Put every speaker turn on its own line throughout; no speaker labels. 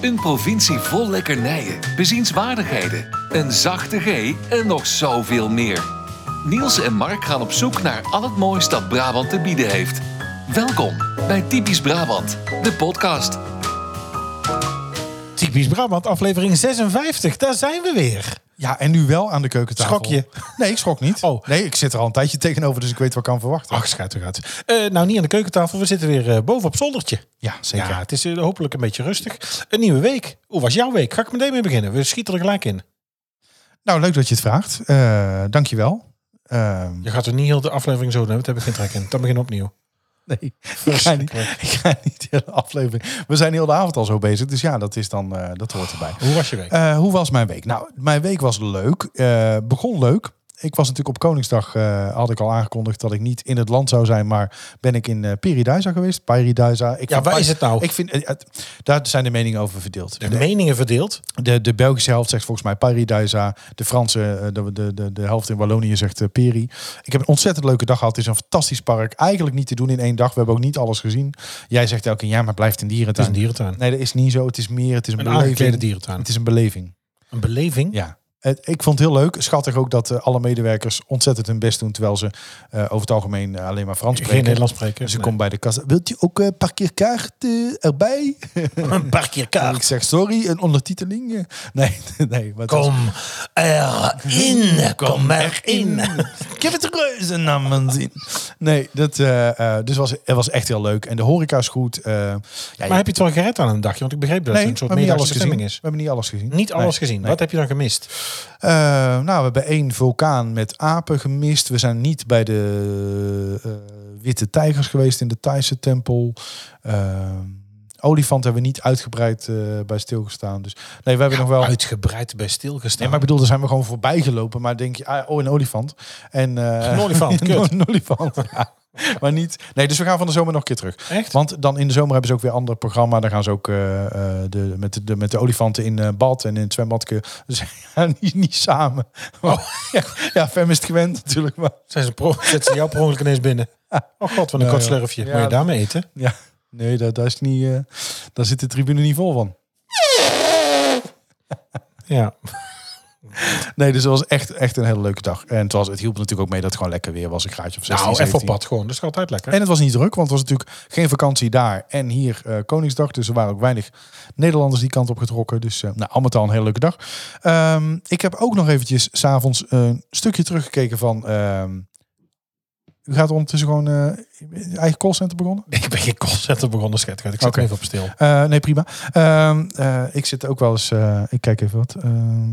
Een provincie vol lekkernijen, bezienswaardigheden, een zachte G en nog zoveel meer. Niels en Mark gaan op zoek naar al het moois dat Brabant te bieden heeft. Welkom bij Typisch Brabant, de podcast.
Typisch Brabant, aflevering 56. Daar zijn we weer.
Ja, en nu wel aan de keukentafel.
Schrok je?
Nee, ik schrok niet.
Oh.
Nee, ik zit er al een tijdje tegenover, dus ik weet wat ik kan verwachten.
Ach, schuit eruit. Eh nou, niet aan de keukentafel. We zitten weer eh, boven op zoldertje.
Ja, zeker.
Ja, het is eh, hopelijk een beetje rustig. Een nieuwe week. Hoe was jouw week? Ga ik meteen mee beginnen. We schieten er gelijk in.
Nou, leuk dat je het vraagt. Eh dankjewel. Ehm
Je gaat er niet heel de aflevering zo doen. Dat heb ik geen trek in. Dan beginnen we opnieuw.
nee, ik ga, niet, ik ga niet de hele aflevering. We zijn heel de avond al zo bezig, dus ja, dat, is dan, eh, dat hoort erbij.
Hoe was je week?
Eh, hoe was mijn week? Nou, mijn week was leuk. Eh, begon leuk. Ik was natuurlijk op Koningsdag, eh, had ik al aangekondigd dat ik niet in het land zou zijn, maar ben ik in eh Peridaisa geweest. Peridaisa. Ik
Ja,
vind-
waar is het nou?
Ik vind, eh, het- daar zijn de meningen over verdeeld.
De meningen verdeeld.
De, de Belgische helft zegt volgens mij Paradisa. De Franse, eh, de, de, de, de helft in Wallonië zegt eh, Peri. Ik heb een ontzettend leuke dag gehad. Het is een fantastisch park. Eigenlijk niet te doen in één dag. We hebben ook niet alles gezien. Jij zegt elke keer, ja, maar het blijft een
Het is
dierentuin.
een dierentuin.
Nee, dat is niet zo. Het is meer, het is een,
Een aangeklede
beleving.
dierentuin.
Het is een beleving.
Een beleving.
Ja. Het, ik vond het heel leuk. Schattig ook dat eh, alle medewerkers ontzettend hun best doen. Terwijl ze eh, over het algemeen eh, alleen maar Frans
Geen
spreken.
Nederlands spreken.
Dus ik
Nee.
kom bij de kassa. Wilt u ook eh, parkeerkaart eh, erbij?
Een
Ik
parkeerkaart.
zeg sorry, een ondertiteling. eh. Nee, nee. maar het was-
Kom erin. Kom erin.
Ik heb het reuze naar mijn zin. Nee, dat eh, eh, dus was, het was echt heel leuk. En de horeca is goed. eh, ja, je-
Maar heb je het wel gered aan een dagje? Want ik begreep dat
nee,
het
we
een soort
hebben niet alles
meerdaagse stemming
gezien. We
is.
hebben niet alles gezien.
Niet alles
Nee,
gezien.
nee.
Wat heb je dan gemist?
Eh, nou, we hebben één vulkaan met apen gemist. We zijn niet bij de eh, witte tijgers geweest in de Thaise tempel. Eh, olifant hebben we niet uitgebreid eh, bij stilgestaan. Dus nee, we hebben nog wel.
Uitgebreid bij stilgestaan.
Nee, maar ik bedoel, daar zijn we gewoon voorbij gelopen. Maar denk je, ah, oh, een olifant. En, eh,
Een olifant, kut.
Een olifant, ja. Maar niet... Nee, dus we gaan van de zomer nog een keer terug.
Echt?
Want dan in de zomer hebben ze ook weer een ander programma. Dan gaan ze ook eh, eh, de, met, de, de- met de olifanten in eh, bad en in het zwembadje. Dus ja, niet, niet samen.
Oh.
ja, ja, Fem is het gewend natuurlijk. Maar,
Zijn ze pro- zetten ze jou per ongeluk ineens binnen? Oh god, wat een
Ja,
kort
ja.
slurfje.
Ja.
Moet je daarmee eten?
ja, nee, daar, daar, is niet, eh, daar zit de tribune niet vol van.
Ja.
Nee, dus dat was echt, echt een hele leuke dag. En het, was, het hielp natuurlijk ook mee dat het gewoon lekker weer was. Een graadje of 16,
Nou, even op
17.
pad gewoon. Dat is altijd lekker.
En het was niet druk, want het was natuurlijk geen vakantie daar. En hier eh, Koningsdag, dus er waren ook weinig Nederlanders die kant op getrokken. Dus eh nou, al met al een hele leuke dag. Ehm, ik heb ook nog eventjes s'avonds een stukje teruggekeken van... ehm, u gaat ondertussen gewoon eh eigen callcenter begonnen?
ik ben geen callcenter begonnen, schat. Ik zet hem
Oké.
even op stil.
Eh, nee, prima. Ehm, eh, ik zit ook wel eens... eh, ik kijk even wat. Ehm,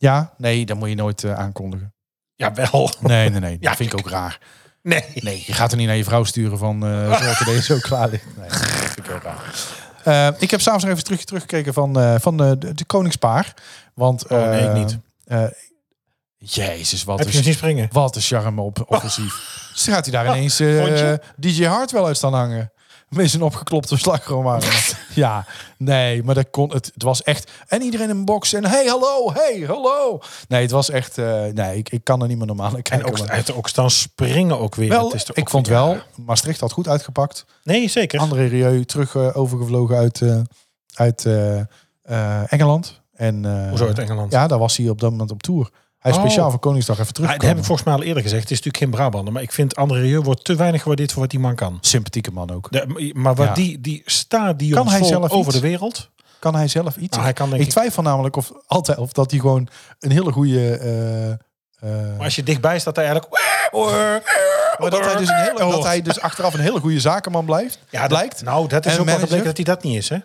ja, nee, dat moet je nooit eh, aankondigen.
Jawel.
Nee, nee, nee.
Ja,
dat vind ik ook raar.
Nee.
Nee, je gaat er niet naar je vrouw sturen van eh zorg dat deze zo klaar ligt. Nee, dat vind ik heel raar. Eh, ik heb s'avonds nog even terug, teruggekeken van, eh, van eh, de, de Koningspaar. Want,
Oh, nee,
eh,
ik niet.
eh, jezus, wat
Heb je hem
een,
zien springen? Oh. Ah,
wat een charme op, offensief. Dus gaat hij daar ineens eh,
Vond je?
DJ Hartwell uit staan hangen. Met zijn opgeklopte slagroom Ja, nee, maar dat kon, het, het was echt... En iedereen in een box en hey, hallo, hey, hallo. Nee, het was echt... eh, nee, ik, ik kan er niet meer normaal aan
En
kijken.
ook,
maar-
uit de ook staan springen ook weer.
wel,
Dat is toch
ik
ook
vond
weer-
wel, Maastricht had goed uitgepakt.
Nee, zeker.
André Rieu terug eh, overgevlogen uit, eh, uit eh, eh, Engeland. En, eh,
Hoezo uit Engeland?
Ja, daar was hij op dat moment op tour. Hij is
Oh.
speciaal voor Koningsdag even
Ah,
terug.
dat heb ik volgens mij al eerder gezegd. Het is natuurlijk geen Brabander. Maar ik vind André Rieu wordt te weinig gewaardeerd voor wat die man kan.
Sympathieke man ook.
De- maar wat
Ja.
die, die stadion
Kan hij
vol
zelf
over de
iets?
wereld.
Kan hij zelf iets?
Nou, hij kan denk
ik
ik,
twijfel namelijk of altijd of dat hij gewoon een hele goede. eh, eh,
Maar als je dichtbij staat, dan eigenlijk...
maar dat hij, dus een hele, dat hij dus achteraf een hele goede zakenman blijft.
Oh. Ja, dat-
blijkt.
Nou, dat is
En
ook wel
manager?
gebleken dat hij dat niet is, hè?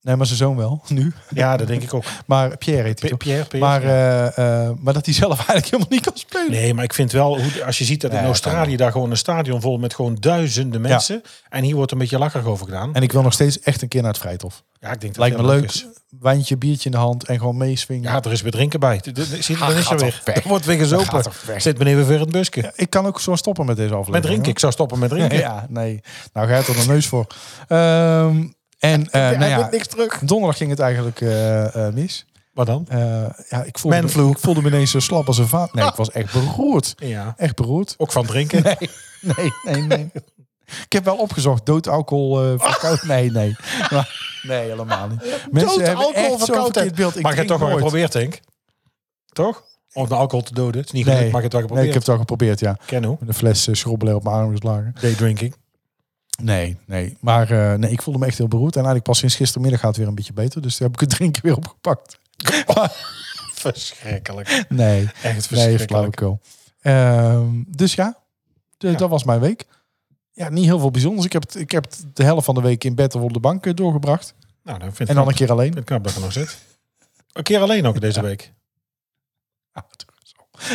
Nee, maar zijn zoon wel, nu.
Ja, dat denk ik ook.
Maar Pierre heet hij.
P-
toch?
Pierre, Pierre.
Maar, eh, eh, maar dat hij zelf eigenlijk helemaal niet kan spelen.
nee, maar ik vind wel, hoe, als je ziet dat in
Ja, dat kan
Australië daar gewoon een stadion vol met gewoon duizenden mensen. En hier wordt een beetje lacherig over gedaan.
En ik wil nog steeds echt een keer naar het Vrijthof.
ja, ik denk dat
Lijkt me
dat
leuk.
is.
Wijntje, biertje in de hand en gewoon meeswingen.
Ja, er is weer drinken bij. De- de- de- Zie je, dan is er
gaat
weer.
toch weg.
Er wordt weer
Gaat
gezopen.
toch weg.
Zit meneer weer weer in het busje.
Ik kan ook zo stoppen met deze aflevering.
Met drinken. Ik zou stoppen met
hoor.
drinken.
Ja, nee. Nou, ga je er de neus voor. Ehm, en eh nou ja,
niks terug.
donderdag ging het eigenlijk eh, eh, mis.
Wat dan?
Eh, ja, ik voelde,
Man flu.
ik voelde me ineens zo slap als een vaat. Nee, ik was echt beroerd.
Ja,
Echt beroerd.
ook van drinken.
Nee, nee, nee. Ik heb wel opgezocht, doodalcohol, eh verkoud. Nee, nee. Maar- nee, helemaal niet. Mensen hebben
alcohol
echt zo'n
verkoudheid.
verkeerd beeld. Ik
maar je hebt
drink
toch wel
nooit.
geprobeerd, denk Toch? Om de alcohol te doden. Het is niet gelukt,
Nee.
maar je hebt het wel
Nee, ik
geprobeerd.
heb het al geprobeerd, ja.
Ken hoe?
Met een fles uh, op mijn arm geslagen.
Day drinking.
Nee, nee. Maar eh, nee, ik voelde me echt heel beroerd. En eigenlijk pas sinds gistermiddag gaat het weer een beetje beter. Dus toen heb ik het drinken weer opgepakt.
Verschrikkelijk.
nee,
Echt
nee,
verschrikkelijk.
flauwekul. Ehm dus ja, de-
Ja.
dat was mijn week. Ja, niet heel veel bijzonders. Ik heb, het- ik heb het de helft van de week in bed of op de bank eh, doorgebracht.
nou, dan vind
En
ik
dan
knap.
een keer alleen.
vind het knap dat je nog zit. Een keer alleen ook deze week.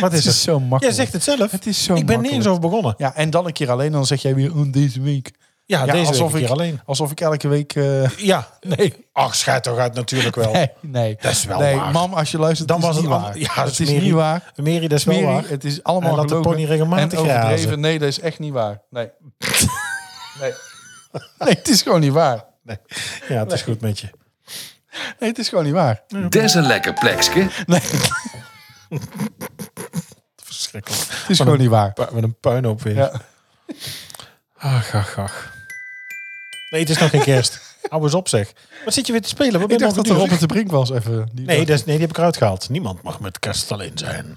Wat
Het
is
is
het?
zo
Jij
makkelijk.
zegt het zelf.
het is zo
ik ben niet eens
makkelijk.
over begonnen.
Ja, en dan een keer alleen. Dan zeg jij weer "Oh, deze week.
Ja,
Ja,
deze
alsof
week een
ik-
keer alleen.
Alsof ik elke week... eh,
Ja, nee. Ach, schijt toch uit natuurlijk wel.
nee, nee.
Dat is wel
nee,
waar.
mam, als je luistert,
Dan
het is
was
niet
het al-
waar.
Ja, dat
het
is
is
Mary.
niet waar.
Meri, dat is wel
Smerig,
waar.
Het is allemaal
En laat de
gelogen
pony regelmatig
en overdreven.
grazen.
Nee, dat is echt niet waar. Nee. nee. Nee, het is gewoon niet waar.
Nee. Ja, het is goed met je.
Nee, het is gewoon niet waar.
Des een lekker plekske.
Nee, het
Verschrikkelijk.
is gewoon niet waar.
Met een puinhoop weer.
Ja.
Ach, ach, ach. Nee, het is nog geen kerst. Hou eens op zeg. Wat zit je weer te spelen? Wat ben je
Ik dacht dat er
nog
Robert de Brink was even. Die
Nee,
dacht-
dat is, nee, die heb ik eruit gehaald. Niemand mag met kerst alleen zijn.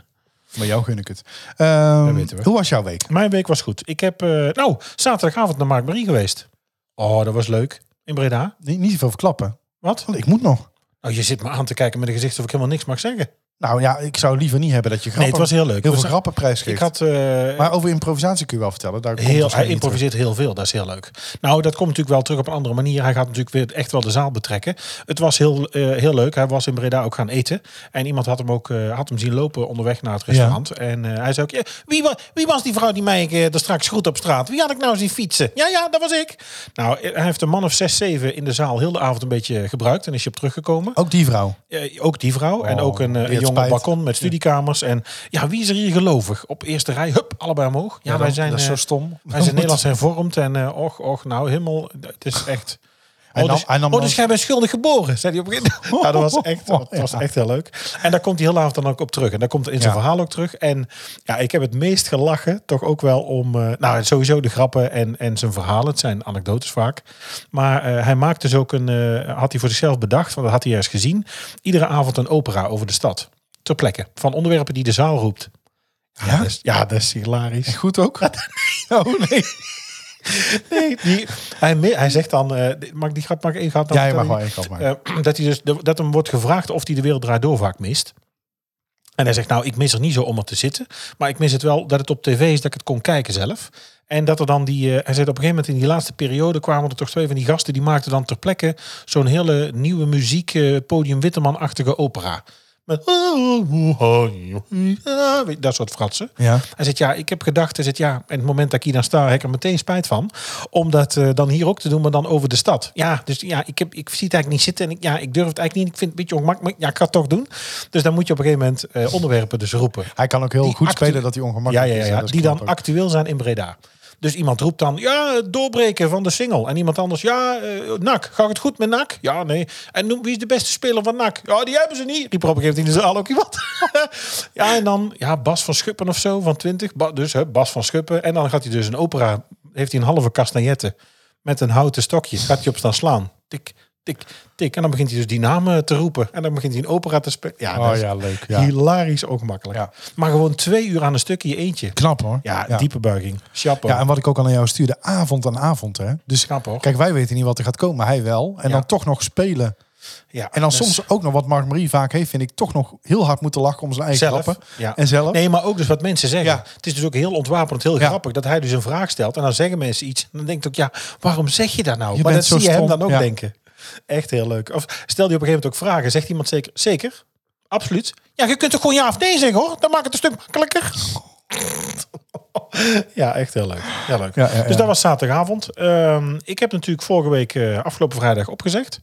Maar jou gun ik het. Ehm,
Dat weten we.
Hoe was jouw week?
Mijn week was goed. Ik heb, eh, nou, zaterdagavond naar Mark Marie geweest. Oh, dat was leuk. In Breda.
Niet, niet veel verklappen.
Wat?
Want ik moet nog.
Oh, je zit me aan te kijken met een gezicht of ik helemaal niks mag zeggen.
Nou ja, ik zou liever niet hebben dat je grappen,
Nee, het was heel leuk.
heel
We
veel
za-
grappen prijs
Ik
geeft.
had... eh,
maar over improvisatie kun je wel vertellen. Daar komt
Heel, hij
waarschijnlijk niet
improviseert heel veel, dat is heel leuk. Nou, dat komt natuurlijk wel terug op een andere manier. Hij gaat natuurlijk weer echt wel de zaal betrekken. Het was heel, eh, heel leuk. Hij was in Breda ook gaan eten. En iemand had hem ook eh, had hem zien lopen onderweg naar het restaurant. En eh, hij zei ook, "Ja, wie, wa- wie was die vrouw die mij eh, daar straks goed op straat? Wie had ik nou zien fietsen? Ja, ja, dat was ik. Nou, eh, hij heeft een man of zes, zeven in de zaal heel de avond een beetje gebruikt. En is je op teruggekomen.
terug. Ook die vrouw.
Eh, ook die vrouw. en
Oh,
ook een, eh, een
die had
jongen
spijt.
balkon met studiekamers. En ja, wie is er hier gelovig? Op eerste rij, hup, allebei omhoog. Ja,
dan-
wij zijn...
dat is zo
eh,
stom.
hij is in Nederlands hervormd en eh, och, och, nou helemaal, het is echt...
Hij
oh,
nam-
dus,
hij nam
oh,
dan-
dus jij bent schuldig geboren, zei hij op een gegeven moment. Ja, dat was echt, dat was echt heel leuk. En daar komt hij heel avond dan ook op terug. En daar komt hij in zijn
Ja.
verhaal ook terug. En ja, ik heb het meest gelachen, toch ook wel om... eh, nou, sowieso de grappen en, en zijn verhalen. Het zijn anekdotes vaak. Maar eh, hij maakt dus ook een... eh, had hij voor zichzelf bedacht, want dat had hij eerst gezien. Iedere avond een opera over de stad. Ter plekke. Van onderwerpen die de zaal roept.
Ja?
dat is, ja, dat is hilarisch.
Goed ook? oh nee.
Nee, die, hij, me- hij zegt dan, eh, dit- mag ik die grap maken? Eén grap dan
Ja, je mag
vertellen?
wel één grap maken.
Eh, dat, hij dus, de- dat hem wordt gevraagd of hij de wereld draait door vaak mist. En hij zegt, nou, ik mis er niet zo om er te zitten. Maar ik mis het wel dat het op tv is, dat ik het kon kijken zelf. En dat er dan die... eh, hij zegt, op een gegeven moment in die laatste periode kwamen er toch twee van die gasten... die maakten dan ter plekke zo'n hele nieuwe muziek... eh, podium Witteman-achtige opera. Met... Dat soort fratsen.
Ja.
Hij zegt, ja, ik heb gedacht, hij zegt, ja, en het moment dat ik hier dan sta, heb ik er meteen spijt van. Om dat eh, dan hier ook te doen, maar dan over de stad. Ja, dus ja, ik, heb, ik zie het eigenlijk niet zitten en ik, ja, ik durf het eigenlijk niet. Ik vind het een beetje ongemakkelijk, maar ja, ik ga het toch doen. Dus dan moet je op een gegeven moment eh, onderwerpen dus roepen.
Hij kan ook heel
Die
goed
actu-
spelen dat hij
Ja,
ongemakkelijk
ja, ja,
is.
ja,
hè. Dat
die
klopt
dan
ook.
actueel zijn in Breda. Dus iemand roept dan, ja, het doorbreken van de single. En iemand anders, ja, eh, NAC, gaat het goed met NAC? Ja, nee. En noem, wie is de beste speler van NAC? Ja, die hebben ze niet. Riep er op een gegeven moment in de zaal ook iemand. ja, en dan, ja, Bas van Schuppen of zo, van 20. Ba- dus hè, Bas van Schuppen. En dan gaat hij dus een opera, heeft hij een halve castagnette met een houten stokje. Gaat hij op staan slaan. Tik, tik, tik. En dan begint hij dus die namen te roepen. En dan begint hij een opera te spelen. Ja, dat
Oh
is
ja, leuk. Ja.
hilarisch ook makkelijk.
Ja.
Maar gewoon twee uur aan een stukje eentje.
Knap hoor.
Ja,
ja.
diepe buiging. Chapeau.
Ja, en wat ik ook al aan jou stuurde, avond aan avond. Hè? Dus
Knap, hoor.
kijk, wij weten niet wat er gaat komen, maar hij wel. En
Ja.
dan toch nog spelen.
Ja,
En dan
dus
soms ook nog wat Mark Marie vaak heeft, vind ik toch nog heel hard moeten lachen om zijn eigen
zelf.
grappen.
Ja.
En zelf.
Nee, maar ook dus wat mensen zeggen.
Ja.
Het is dus ook heel ontwapenend, heel
Ja.
grappig dat hij dus een vraag stelt. En dan zeggen mensen iets. En dan denkt ook, ja, waarom zeg je dat nou?
Je
maar dat
bent
zie
zo
je hem
stom.
dan ook
Ja.
denken. Echt heel leuk. Of stel die op een gegeven moment ook vragen. Zegt iemand zeker? Zeker? Absoluut. Ja, je kunt toch gewoon ja of nee zeggen hoor. Dan maakt het een stuk makkelijker. Ja, echt heel leuk. Heel leuk.
Ja, ja, ja.
Dus dat was zaterdagavond. Ehm, ik heb natuurlijk vorige week, eh, afgelopen vrijdag, opgezegd.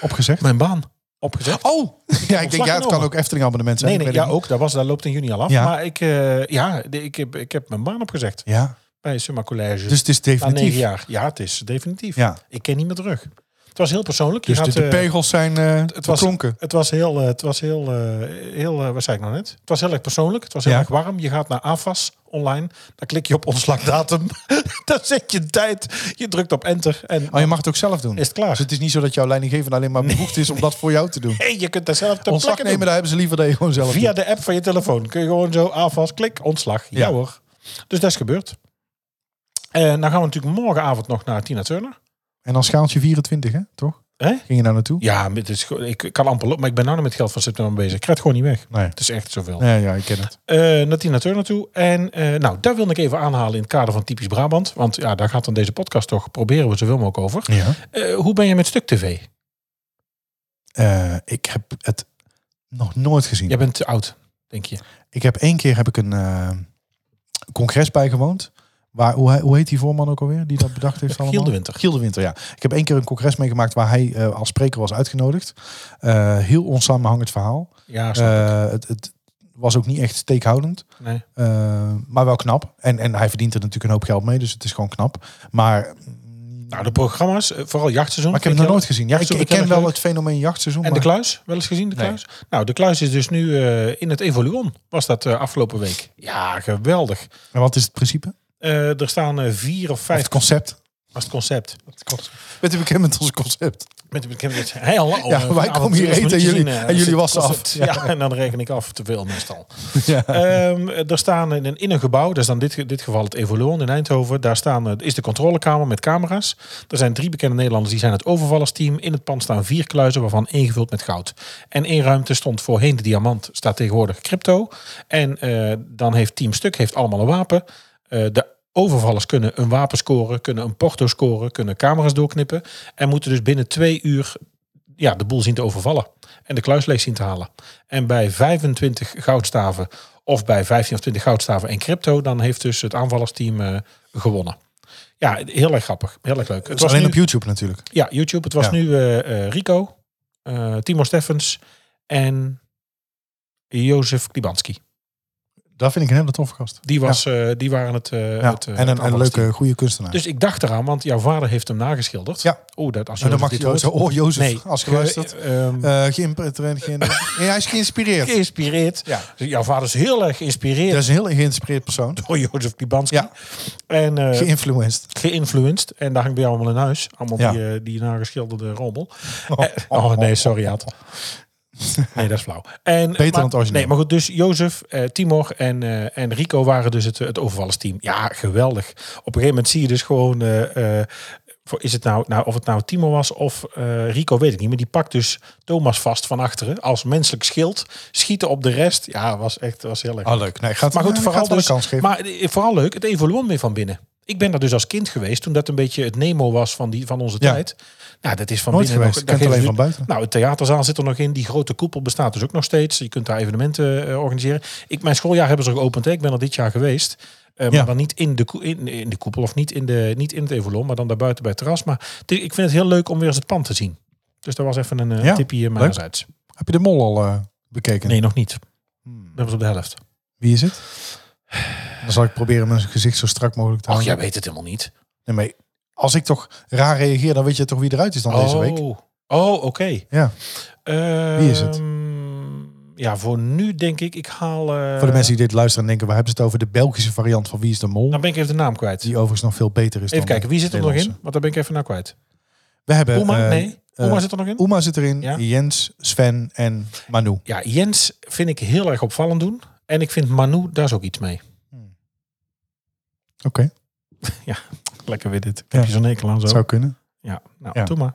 Opgezegd.
Mijn baan. Opgezegd.
Oh! Ja, ik denk, ja, het
genomen.
kan ook Efteling abonnement zijn.
Nee,
ik
nee,
weet
ja,
het niet.
ook. Dat, was, dat loopt in juni al af.
Ja.
Maar ik, eh, ja, de- ik, heb, ik heb mijn baan opgezegd
Ja,
bij Summa College.
dus het is
Na negen
definitief.
jaar. Ja, het is definitief.
Ja.
Ik ken niet meer terug. Het was heel persoonlijk. Je
Dus de,
gaat,
de
eh,
pegels zijn eh het
was-
klonken.
Het was heel, eh, het was heel, eh, heel eh, wat zei ik nou net? Het was heel erg persoonlijk. Het was heel
Ja.
erg warm. Je gaat naar AFAS online. Dan klik je op ontslagdatum. dan zet je tijd. Je drukt op enter. En
Oh, je mag het ook zelf doen.
Is het klaar?
Dus het is niet zo dat jouw leidinggevende alleen maar bevoegd is om dat voor jou te doen.
hey, je kunt dat zelf ter
Ontslag
plekke
nemen,
doen.
daar hebben ze liever dat je gewoon zelf
Via
doet.
de app van je telefoon. Kun je gewoon zo AFAS, klik, ontslag. Ja,
Ja.
hoor. Dus dat is gebeurd. En dan gaan we natuurlijk morgenavond nog naar Tina Turner.
En dan schaaltje 24, hè? Toch?
Hè?
Ging je daar naartoe?
Ja, maar het is, gewoon- ik kan amper lopen, maar ik ben nou nog met geld van september bezig. Ik krijg het gewoon niet weg.
Nee.
Het is echt zoveel.
Nee, ja, ik ken het.
eh naar Tina Turner toe. En eh, nou, daar wilde ik even aanhalen in het kader van Typisch Brabant. Want ja, daar gaat dan deze podcast toch. Proberen we zoveel mogelijk over.
Ja.
Eh, hoe ben je met Stuk TV?
Eh, ik heb het nog nooit gezien.
Jij bent te oud, denk je.
Ik heb één keer heb ik een eh, congres bijgewoond. Waar, hoe, hij- hoe heet die voorman ook alweer? Die dat bedacht heeft allemaal?
Giel de Winter.
Giel de Winter, ja. Ik heb één keer een congres meegemaakt waar hij eh, als spreker was uitgenodigd. Eh, heel onsamenhangend verhaal.
Ja, snap
Eh, het, het was ook niet echt steekhoudend.
ik. nee.
Eh, maar wel knap. En, en hij verdient er natuurlijk een hoop geld mee, dus het is gewoon knap. Maar,
Nou, de programma's, eh, vooral jachtseizoen.
maar ik heb
vind
hem nog nooit
heel-
gezien. Ja, ik,
Jachtseizoen
ik
vind ik
ken wel
leuk.
het fenomeen jachtseizoen.
En de
maar-
kluis, wel eens gezien de
Nee.
kluis? Nou, de kluis is dus nu eh, in het Evoluon, was dat eh, afgelopen week. Ja, geweldig.
en wat is het principe?
Eh, er staan eh, vier of
Of
vijf,
het concept?
was het concept.
Bent u bekend met ons concept?
Met, met, met, hey, hallo,
Ja,
eh,
wij
vanavond
komen hier
eerst
eten en
minuutjes
jullie-
in, eh,
en jullie
zit
wassen
kost
af.
het. Ja, en dan reken ik af te veel meestal.
Ja.
Ehm, er staan in een, in een gebouw, dat is dan dit, ge- dit geval het Evoluon in Eindhoven. Daar staan, eh, is de controlekamer met camera's. Er zijn drie bekende Nederlanders, die zijn het overvallersteam. In het pand staan vier kluizen, waarvan één gevuld met goud. En één ruimte stond voorheen de diamant, staat tegenwoordig crypto. En eh, dan heeft Team Stuk heeft allemaal een wapen. Eh, de overvallers kunnen een wapen scoren, kunnen een porto scoren, kunnen camera's doorknippen. En moeten dus binnen twee uur ja, de boel zien te overvallen. En de kluis leeg zien te halen. En bij 25 goudstaven of bij 15 of 20 goudstaven en crypto, dan heeft dus het aanvallersteam eh, gewonnen. Ja, heel erg grappig. Heel erg leuk.
Het was alleen
nu-
op YouTube natuurlijk.
ja, YouTube. Het was
Ja.
nu eh, eh, Rico, eh, Timo Steffens en Jozef Klibanski.
Dat vind ik een hele toffe gast.
Die, was, eh, die waren het, eh,
Ja,
het, eh,
en
het
een, een
aanvallersteam.
leuke, goede kunstenaar.
Dus ik dacht eraan, want jouw vader heeft hem nageschilderd.
Ja.
Oh, dat als
en dan
Jozef
mag
dit
je ook
hoort.
zo, oh Jozef,
Nee,
als je
ge-
luistert.
ehm,
Eh, geïmpre- ge- Ja, hij is geïnspireerd.
eh, geïnspireerd. Dus
Ja.
Jouw vader is heel erg geïnspireerd
Dat is een heel geïnspireerd persoon.
door Jozef Klibanski.
Ja.
En eh,
Geïnfluenced.
geïnfluenced. En daar hangt bij jou allemaal in huis. Allemaal
Ja.
die, eh, die nageschilderde rommel.
Oh,
Eh, Oh, nee, sorry Ad. Nee, dat is flauw. En,
Beter
maar,
dan het origineel.
Nee, maar goed, dus Jozef, eh, Timor en, eh, en Rico waren dus het, eh, het overvallersteam. Ja, geweldig. Op een gegeven moment zie je dus gewoon... eh, eh, voor- is het nou, nou, of het nou Timo was of eh, Rico, weet ik niet. Maar die pakt dus Thomas vast van achteren als menselijk schild. Schieten op de rest. Ja, was echt was heel erg.
Oh, leuk. Nee, gaat,
Maar goed,
ja,
vooral,
gaat wel een
dus,
kans geven.
maar eh, vooral leuk, het Evoluon weer van binnen. Ik ben daar dus als kind geweest, toen dat een beetje het Nemo was van, die, van onze
Ja.
tijd. Nou, dat is van
Nooit
binnen
geweest.
nog...
Ik ken het
daar
alleen
geven
van
ze-
buiten.
Nou, het theaterzaal zit er nog in. Die grote koepel bestaat dus ook nog steeds. Je kunt daar evenementen eh, organiseren. Ik, mijn schooljaar hebben ze geopend. Hè. Ik ben er dit jaar geweest. Eh, maar
Ja.
dan niet in de, koe- in, in de koepel of niet in, de, niet in het Evoluon, maar dan daarbuiten bij het terras. Maar het is- ik vind het heel leuk om weer eens het pand te zien. Dus dat was even een eh,
Ja,
tipje eh, mijnerzijds.
Heb je de mol al eh, bekeken?
Nee, nog niet.
Hmm.
Dat was op de helft.
Wie is het? Dan zal ik proberen mijn gezicht zo strak mogelijk te
Ach,
houden.
Oh, jij weet het helemaal niet.
Nee, maar als ik toch raar reageer, dan weet je toch wie eruit is dan deze week.
Oh, oh oké.
Ja. Wie is het?
Ehm, Ja, voor nu denk ik, ik haal... eh,
Voor de mensen die dit luisteren en denken, waar hebben ze het over? De Belgische variant van Wie is de Mol?
Dan ben ik even de naam kwijt.
Die overigens nog veel beter is
Nou, Even
dan
kijken, wie zit er nog in? Want daar ben ik even naar kwijt.
We hebben
Oema?
eh,
nee.
eh,
Oema zit er nog in?
Oema zit erin,
Ja.
Jens, Sven en Manu.
Ja, Jens vind ik heel erg opvallend doen. En ik vind Manu, daar is ook iets mee.
Oké,
Lekker weer dit. Ik
Ja.
Heb je zo'n hekel aan zo?
dat zou kunnen.
Ja, nou,
Ja.
doe maar.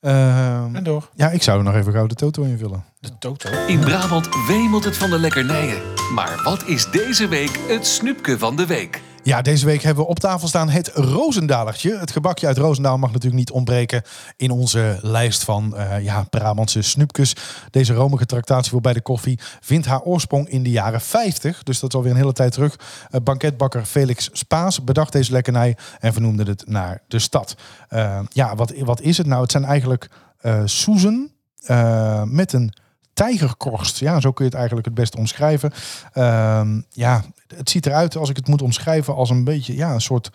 Ehm,
En door.
ja, ik zou er nog even gauw de toto invullen.
De Toto.
In Brabant wemelt het van de lekkernijen. Maar wat is deze week het snoepje van de week?
Ja, deze week hebben we op tafel staan het Roosendalertje. Het gebakje uit Roosendaal mag natuurlijk niet ontbreken in onze lijst van eh, ja, Brabantse snoepjes. Deze romige tractatie voor bij de koffie vindt haar oorsprong in de jaren 50. Dus dat is alweer een hele tijd terug. Eh, banketbakker Felix Spaas bedacht deze lekkernij en vernoemde het naar de stad. Eh, ja, wat, wat is het nou? Het zijn eigenlijk eh soezen eh, met een tijgerkorst. Ja, zo kun je het eigenlijk het best omschrijven. Ehm, ja, het ziet eruit, als ik het moet omschrijven, als een beetje ja, een soort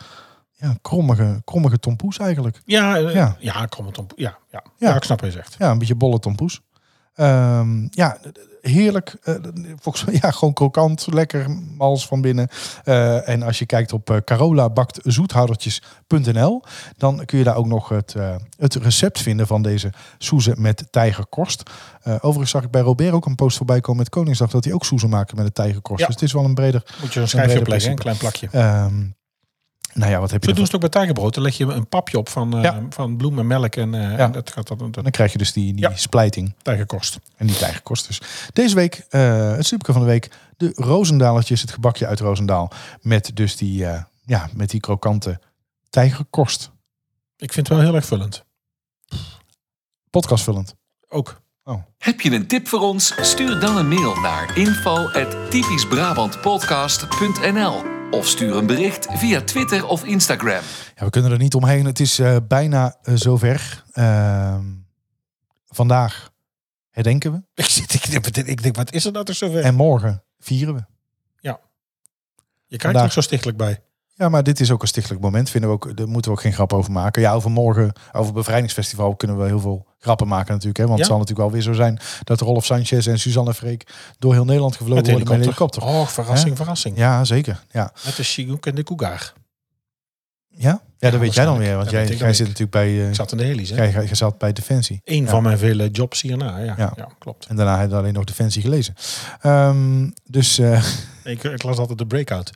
ja, krommige, krommige tompoes eigenlijk.
Ja, eh, ja.
Ja.
kom het op. Ja, ja.
Ja.
ja. ik snap wat je zegt.
Ja, een beetje bolle tompoes. Ehm, ja, d- d- heerlijk. Eh, d- volgens mij, ja, gewoon krokant, lekker, mals van binnen. Eh, en als je kijkt op eh, carolabakzoethoudertjes.nl, dan kun je daar ook nog het, eh, het recept vinden van deze soezen met tijgerkorst. Eh, overigens zag ik bij Robert ook een post voorbij komen met Koningsdag, dat hij ook soezen maakt met de tijgerkorst.
Ja.
Dus het is wel een breder...
Moet je een schijfje
breder
opleggen, hè, een
principe.
klein plakje.
ehm, nou ja, wat heb je
Zo doen
ervan?
ze het ook bij tijgerbrood. Dan leg je een papje op van, eh,
Ja.
van bloem en melk en, eh,
Ja.
en dat gaat dan dat
Dan krijg je dus die, die
Ja.
splijting.
tijgerkorst.
En niet eigen kost dus. Deze week, eh, het snoepje van de week, de Roosendalertjes, het gebakje uit Roosendaal. Met dus die, eh, ja, met die krokante tijgerkorst.
Ik vind het wel heel erg vullend.
Podcastvullend.
Ook.
Heb je een tip voor ons? Stuur dan een mail naar info@typischbrabantpodcast.nl of stuur een bericht via Twitter of Instagram.
Ja, we kunnen er niet omheen. Het is eh, bijna eh, zover. Ehm, vandaag herdenken we.
Ik, zit, ik, denk- ik denk, wat is er nou toch zover?
En morgen vieren we.
je kijkt er
vandaag-
ook zo stichtelijk bij.
Ja, maar dit is ook een stichtelijk moment. Vinden we ook, daar moeten we ook geen grap over maken. Ja, over morgen, over bevrijdingsfestival kunnen we heel veel grappen maken natuurlijk. Hè? Want
Ja.
het zal natuurlijk alweer zo zijn dat Rolf Sanchez en Suzanne Freek door heel Nederland gevlogen
Met
worden met een
helikopter.
helikopter.
Oh, verrassing, verrassing.
Ja, zeker. Ja,
Met de Chinook en de Cougar.
ja? ja dat weet jij dan weer. Want
Ja,
jij,
weet ik
jij
dan
zit
niet.
natuurlijk bij, eh,
Ik zat in de helis, hè?
jij, jij zat bij Defensie.
Eén van mijn vele jobs hierna, ja.
Ja.
Ja, klopt.
En daarna heb je alleen nog Defensie gelezen. Ehm, dus eh,
Ik, ik las altijd de breakout.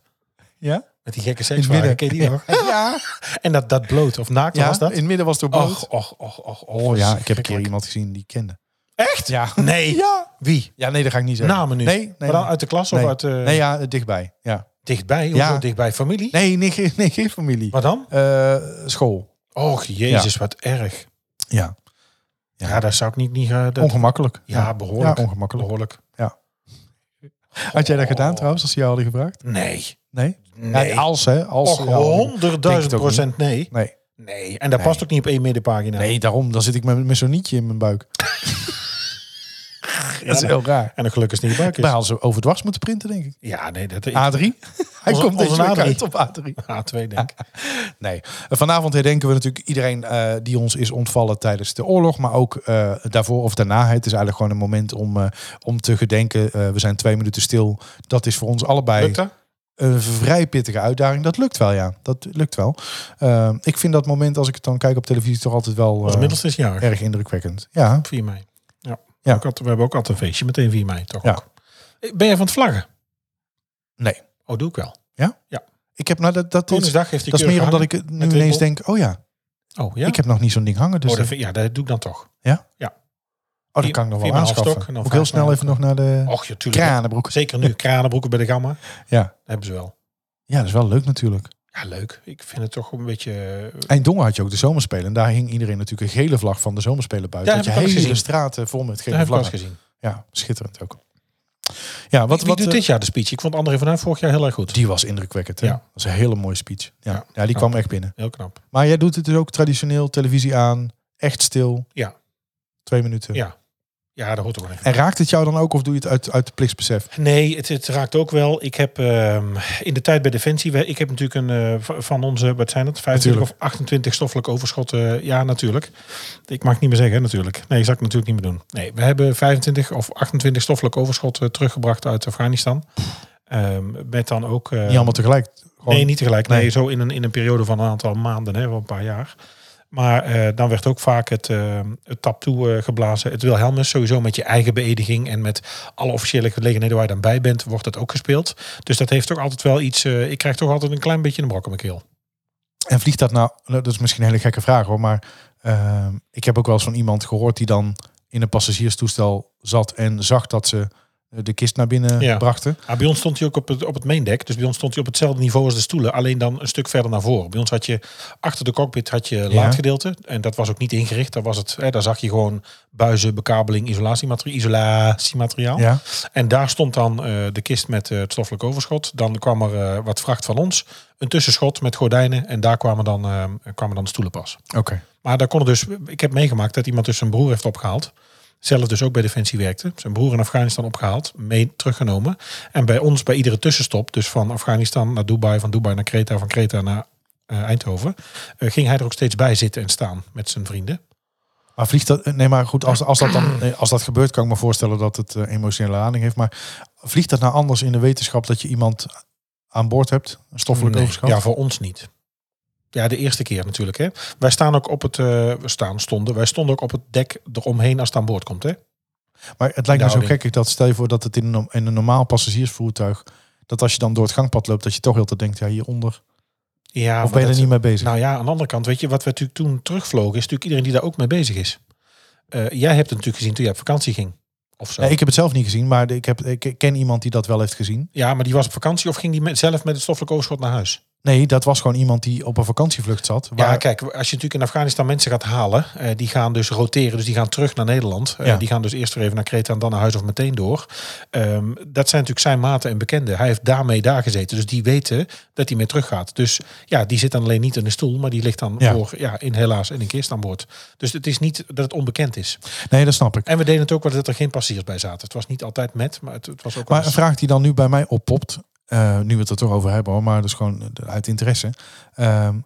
ja?
Met die gekke
In het
sekswagen,
midden.
ken je die nog?
Ja,
En dat, dat bloot, of naakt
ja
was dat?
in het midden was het ook bloot.
Och, och, och, och.
Oh ja, ik heb een keer
verschrikkelijk.
iemand gezien die ik kende.
Echt?
Ja.
Nee.
Ja.
Wie?
Ja, nee, dat ga ik niet zeggen.
Namen nu?
Nee, nee.
maar dan uit de klas of
Nee.
uit... eh,
Nee, ja, dichtbij. Ja.
Dichtbij?
Ja.
Ja. Dichtbij familie?
Nee, nee, geen, nee, geen familie.
Wat dan?
Eh, school.
Och, jezus, wat erg.
Ja.
Ja,
Ja.
daar zou ik niet... niet eh, dat-
Ongemakkelijk.
ja, behoorlijk.
Ja, ongemakkelijk.
Behoorlijk.
Had jij dat gedaan trouwens, als ze jou hadden gevraagd?
Nee.
Nee?
oh. Nee.
Ja, als hè? Als ze
Och,
jou hadden gevraagd.
honderdduizend
Denk het ook
procent nee.
Nee.
Nee. En dat
Nee.
past ook niet op één middenpagina.
Nee, daarom. Dan zit ik met, met zo'n nietje in mijn buik. dat is heel Nou. raar.
En dan gelukkig is het niet buik is.
Maar hadden ze overdwars moeten printen, denk ik.
Ja, nee, dat ik-
A3? Hij
Onze-
komt
onze
deze week
A3.
uit op A3.
A2 denk ik.
Nee. Vanavond herdenken we natuurlijk iedereen eh, die ons is ontvallen tijdens de oorlog. Maar ook eh, daarvoor of daarna. Het is eigenlijk gewoon een moment om, eh, om te gedenken. Eh, we zijn twee minuten stil. Dat is voor ons allebei
Lukt dat?
een vrij pittige uitdaging. Dat lukt wel, ja. Dat lukt wel. Eh, ik vind dat moment, als ik het dan kijk op televisie, toch altijd wel
Ons
eh,
middelste is jarig.
erg indrukwekkend. Ja.
4 mei. Ja.
Ja.
Ook altijd- we hebben ook altijd een feestje meteen 4 mei, toch?
Ja.
ook? Eh, Ben jij van het vlaggen?
Nee.
Oh, doe ik wel.
Ik heb, nou, dat, dat, is,
Koningsdag heeft die
dat is
keurig
meer omdat
gehangen.
ik het
Met
nu
wimpel.
ineens denk, oh ja,
Oh, ja?
ik heb nog niet zo'n ding hangen. Dus
oh, dat
dat,
vind- ja, dat doe ik dan toch.
oh, dat
vier-
kan ik nog
vier
wel
bij Halstok
aanschaffen.
en dan
Moet ik heel
vijf
snel
bij-
even nog naar de
Och, ja, Oh, tuurlijk.
kranenbroek.
Zeker nu. Kranenbroeken bij de gamma.
Ja.
Dat hebben ze wel.
Ja, dat is wel leuk natuurlijk.
Ja, leuk. Ik vind het toch een beetje... eh,
Eindhoven had je ook de zomerspelen. En daar hing iedereen natuurlijk een gele vlag van de zomerspelen buiten.
Ja,
dat je
heb ik ook
hele
gezien.
straten vol met
Dat
gele
heb ik wel eens
vlaggen.
gezien.
Ja, schitterend ook. Ja,
Wat,
wat, wat
doet
eh,
dit jaar de speech? Ik vond André van Duin vorig jaar heel erg goed.
die was indrukwekkend. Hè?
Ja.
Dat was een hele mooie speech. Ja,
Ja.
ja, die kwam echt binnen.
Heel knap.
Maar jij doet het dus ook traditioneel, televisie aan, echt stil.
Ja.
Twee minuten.
Ja. Ja, dat hoort ook wel even.
En raakt het jou dan ook of doe je het uit, uit plichtsbesef?
Nee, het, het raakt ook wel. Ik heb ehm, in de tijd bij Defensie, we- ik heb natuurlijk een eh, v- van onze, wat zijn het, 25
Natuurlijk.
of 28 stoffelijk overschot. eh, ja, natuurlijk. Ik mag het niet meer zeggen, hè, natuurlijk. Nee, ik zou het natuurlijk niet meer doen. Nee, we hebben 25 of 28 stoffelijk overschot eh, teruggebracht uit Afghanistan. Ehm, met dan ook. eh,
niet allemaal tegelijk. Gewoon-
Nee, niet tegelijk. Nee,
Nee.
zo in een, in een periode van een aantal maanden, hè, wel een paar jaar. Maar eh, dan werd ook vaak het, eh, het tap toe eh, geblazen. Het Wilhelmus sowieso met je eigen beëdiging en met alle officiële gelegenheden waar je dan bij bent, wordt dat ook gespeeld. Dus dat heeft toch altijd wel iets. eh, ik krijg toch altijd een klein beetje een brok op mijn keel.
En vliegt dat nou, nou, dat is misschien een hele gekke vraag hoor, maar ehm, ik heb ook wel eens van iemand gehoord die dan in een passagierstoestel zat en zag dat ze eh, de kist naar binnen
Ja.
brachten.
Ah, bij ons stond hij ook op het, op het maindek. Dus bij ons stond hij op hetzelfde niveau als de stoelen. Alleen dan een stuk verder naar voren. Bij ons had je achter de cockpit had je laadgedeelte. En dat was ook niet ingericht. Daar, was het, hè, daar zag je gewoon buizen, bekabeling, isolatiemateriaal. isolatiemateriaal.
Ja.
En daar stond dan eh, de kist met eh, het stoffelijk overschot. Dan kwam er eh, wat vracht van ons. Een tussenschot met gordijnen. En daar kwamen dan, eh, kwamen dan stoelen pas.
Oké.
Maar daar kon het dus... Ik heb meegemaakt dat iemand dus zijn broer heeft opgehaald. Zelf dus ook bij Defensie werkte. Zijn broer in Afghanistan opgehaald. Mee teruggenomen. En bij ons bij iedere tussenstop. Dus van Afghanistan naar Dubai. Van Dubai naar Kreta. Van Kreta naar eh, Eindhoven, eh, ging hij er ook steeds bij zitten en staan met zijn vrienden.
Maar vliegt dat? Nee, maar goed, als, als, dat dan, eh, als dat gebeurt, kan ik me voorstellen dat het eh, emotionele lading heeft. Maar vliegt dat nou anders in de wetenschap dat je iemand aan boord hebt? Een stoffelijk
Nee,
overschat?
Ja, voor ons niet. Ja, de eerste keer natuurlijk. Hè. Wij staan ook op het, eh, we staan, stonden, wij stonden ook op het dek eromheen als het aan boord komt. Hè.
Maar het lijkt me zo
Nou,
gek dat stel je voor dat het in een, in een normaal passagiersvoertuig, dat als je dan door het gangpad loopt, dat je toch heel te denkt, ja, hieronder.
Ja,
of ben je er niet mee bezig?
Nou ja, aan de andere kant, weet je, wat we natuurlijk toen terugvlogen, is natuurlijk iedereen die daar ook mee bezig is. Eh, jij hebt het natuurlijk gezien toen jij op vakantie ging. Of zo.
Nee, ik heb het zelf niet gezien, maar ik, heb, ik ken iemand die dat wel heeft gezien.
Ja, maar die was op vakantie of ging die met, zelf met het stoffelijk overschot naar huis?
Nee, dat was gewoon iemand die op een vakantievlucht zat. Waar,
Ja, kijk, als je natuurlijk in Afghanistan mensen gaat halen, eh, die gaan dus roteren, dus die gaan terug naar Nederland. Eh,
Ja.
Die gaan dus eerst weer even naar Kreta en dan naar huis of meteen door. Ehm, dat zijn natuurlijk zijn maten en bekenden. Hij heeft daarmee daar gezeten, dus die weten dat hij mee teruggaat. Dus ja, die zit dan alleen niet in de stoel, maar die ligt dan
Ja.
voor, ja, in helaas in een kist aan boord. Dus het is niet dat het onbekend is.
Nee, dat snap ik.
En we deden het ook wel dat er geen passagiers bij zaten. Het was niet altijd met, maar het, het was ook wel
Maar een
eens-
vraag die dan nu bij mij oppopt, eh, nu we het er toch over hebben, hoor, maar dat is gewoon eh, uit interesse. Ehm,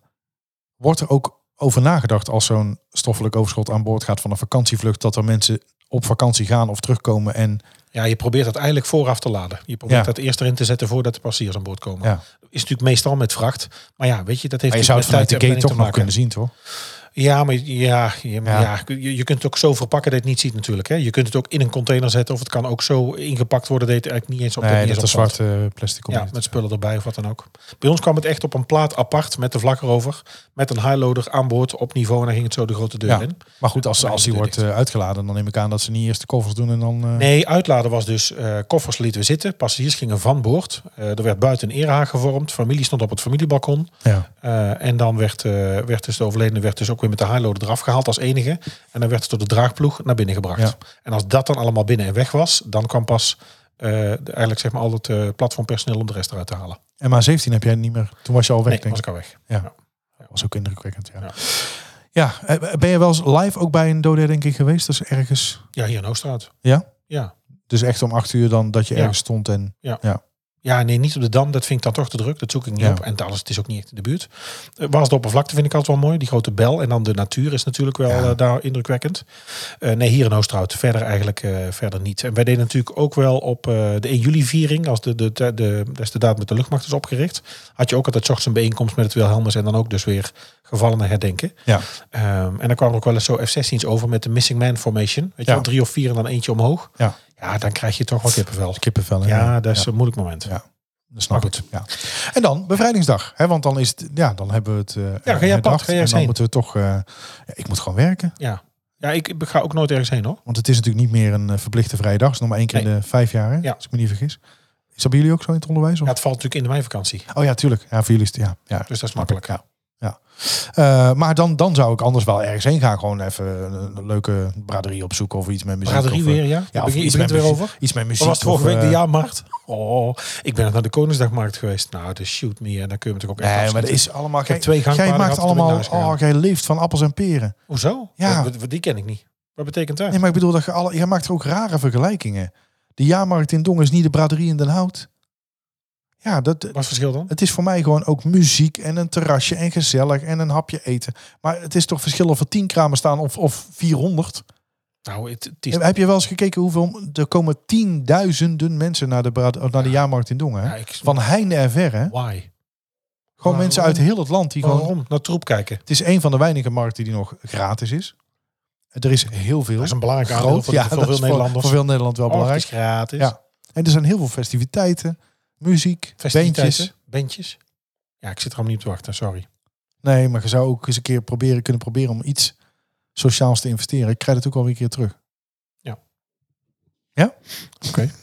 wordt er ook over nagedacht als zo'n stoffelijk overschot aan boord gaat van een vakantievlucht, dat er mensen op vakantie gaan of terugkomen en
Ja, je probeert dat eigenlijk vooraf te laden. Je probeert
Ja.
dat eerst erin te zetten voordat de passagiers aan boord komen.
Ja.
Is natuurlijk meestal met vracht. Maar ja, weet je, dat heeft
Maar je zou
natuurlijk
het vanuit
met
de gate
tijd en
toch nog kunnen
planning te
zien, toch?
maken. Ja, maar ja, ja, maar
Ja.
ja. Je, je kunt het ook zo verpakken dat je het niet ziet natuurlijk. Hè. Je kunt het ook in een container zetten of het kan ook zo ingepakt worden dat je het eigenlijk niet eens op
Nee,
niet
dat
eens
is een
opvalt.
zwarte eh, plastic
Ja,
container.
met spullen erbij of wat dan ook. Bij ons kwam het echt op een plaat apart met de vlak erover. Met een highloader aan boord op niveau en dan ging het zo de grote deur
Ja.
in.
Maar goed, als,
Maar
als die
dat
wordt eh, uitgeladen, dan neem ik aan dat ze niet eerst de koffers doen en dan... eh,
Nee, uitladen was dus eh, koffers lieten we zitten. Passagiers gingen van boord. Eh, er werd buiten een erehaag gevormd. Familie stond op het familiebalkon.
ja.
Eh, en dan werd, eh, werd dus de overledene werd dus ook weer met de highloader eraf gehaald als enige. En dan werd het door de draagploeg naar binnen gebracht.
Ja.
En als dat dan allemaal binnen en weg was, dan kwam pas eh, de- eigenlijk zeg maar al het eh, platformpersoneel om de rest eruit te halen.
En maar 17 heb jij niet meer... Toen was je al weg,
Nee,
denk
was
ik.
ik al weg.
Ja. was ook indrukwekkend, ja. ja.
Ja.
eh, ben je wel eens live ook bij een dode denk ik geweest? Dat is ergens...
Ja, hier in Oostraat.
Ja?
Ja.
Dus echt om acht uur dan dat je
Ja.
ergens stond en...
Ja, nee, niet op de Dam. Dat vind ik dan toch te druk. Dat zoek ik niet
Ja.
op. En Dallas, het is ook niet echt in de buurt. Eh, Waar de oppervlakte vind ik altijd wel mooi. Die grote bel. En dan de natuur is natuurlijk wel
Ja.
eh, daar indrukwekkend. Eh, nee, hier in Oosterhout. Verder eigenlijk eh, verder niet. En wij deden natuurlijk ook wel op eh, de 1 juli-viering. Als de, de, de, de, daad met de luchtmacht is opgericht. Had je ook altijd 's ochtends een bijeenkomst met het Wilhelmus. En dan ook dus weer gevallen herdenken.
Ja.
Ehm, en dan kwamen er ook wel eens zo F-16's over met de Missing Man Formation. Weet je
Ja.
wel, drie of vier en dan eentje omhoog.
Ja.
Ja, dan krijg je toch wel kippenvel.
Kippenvel. hè?
Ja, dat is
Ja,
een moeilijk moment.
Ja. dat snap
Maar
ik. Ja. En dan bevrijdingsdag. Hè, want dan is het... Ja, dan hebben we het... eh,
ga jij
herdacht.
apart, ga jij
En
eens
dan
heen.
moeten we toch... eh, ja, ik moet gewoon werken.
Ja. Ja, ik ik ga ook nooit ergens heen hoor.
Want het is natuurlijk niet meer een eh, verplichte vrije dag. Het is nog maar één keer in de vijf jaar, hè?
Ja.
als ik me niet vergis. Is dat bij jullie ook zo in het onderwijs? Of?
Ja, het valt natuurlijk in de meivakantie.
Oh ja, tuurlijk. Ja, voor jullie is het, ja. ja.
Dus dat is makkelijk.
Ja. ja. Eh, maar dan, dan zou ik anders wel ergens heen gaan. Gewoon even een, een leuke braderie opzoeken of iets met muziek.
Braderie
of, eh,
weer, ja?
Ja,
Ja,
of
begin,
iets
je
met
begint er weer
muziek,
over.
Iets met muziek.
Wat was het vorige
of,
week de
eh,
jaarmarkt? Oh, ik ben naar de Koningsdagmarkt geweest. Nou, de shoot me. En dan kun je natuurlijk ook echt
Nee, maar dat
afschieten.
is allemaal...
heb
Jij,
twee gangpaden
jij maakt
gehad, toen ben ik
allemaal...
naar huis gegaan.
Oh, jij leeft van appels en peren.
Hoezo?
Ja.
Wat- wat- Die ken ik niet. Wat betekent dat?
Nee, maar ik bedoel, dat je, alle, je maakt er ook rare vergelijkingen. De jaarmarkt in Dongen is niet de braderie in Den Hout. Ja, dat,
Wat is het verschil dan?
Het is voor mij gewoon ook muziek en een terrasje en gezellig en een hapje eten. Maar het is toch verschil of er tien kramen staan of, of 400.
Nou, het, het is...
Heb je wel eens gekeken hoeveel... Er komen tienduizenden mensen naar de, braad- naar de jaarmarkt in Dongen. hè?
Ja, ik-
Van heinde en verre. hè? Gewoon
Why? waarom?
mensen uit heel het land die gewoon...
Waarom? Naar troep kijken.
Het is een van de weinige markten die nog gratis is. Er is heel veel.
Dat is een belangrijk aandeel voor,
ja,
voor
dat
veel
is
Nederlanders.
Voor veel Nederland wel
Oh, het is
belangrijk.
gratis.
Ja. En er zijn heel veel festiviteiten, muziek,
Festiviteiten.
bandjes.
Bandjes. Ja, ik zit er allemaal niet op te wachten. Sorry.
Nee, maar je zou ook eens een keer proberen, kunnen proberen om iets sociaals te investeren. Ik krijg het ook alweer een keer terug.
Ja.
Ja? Oké.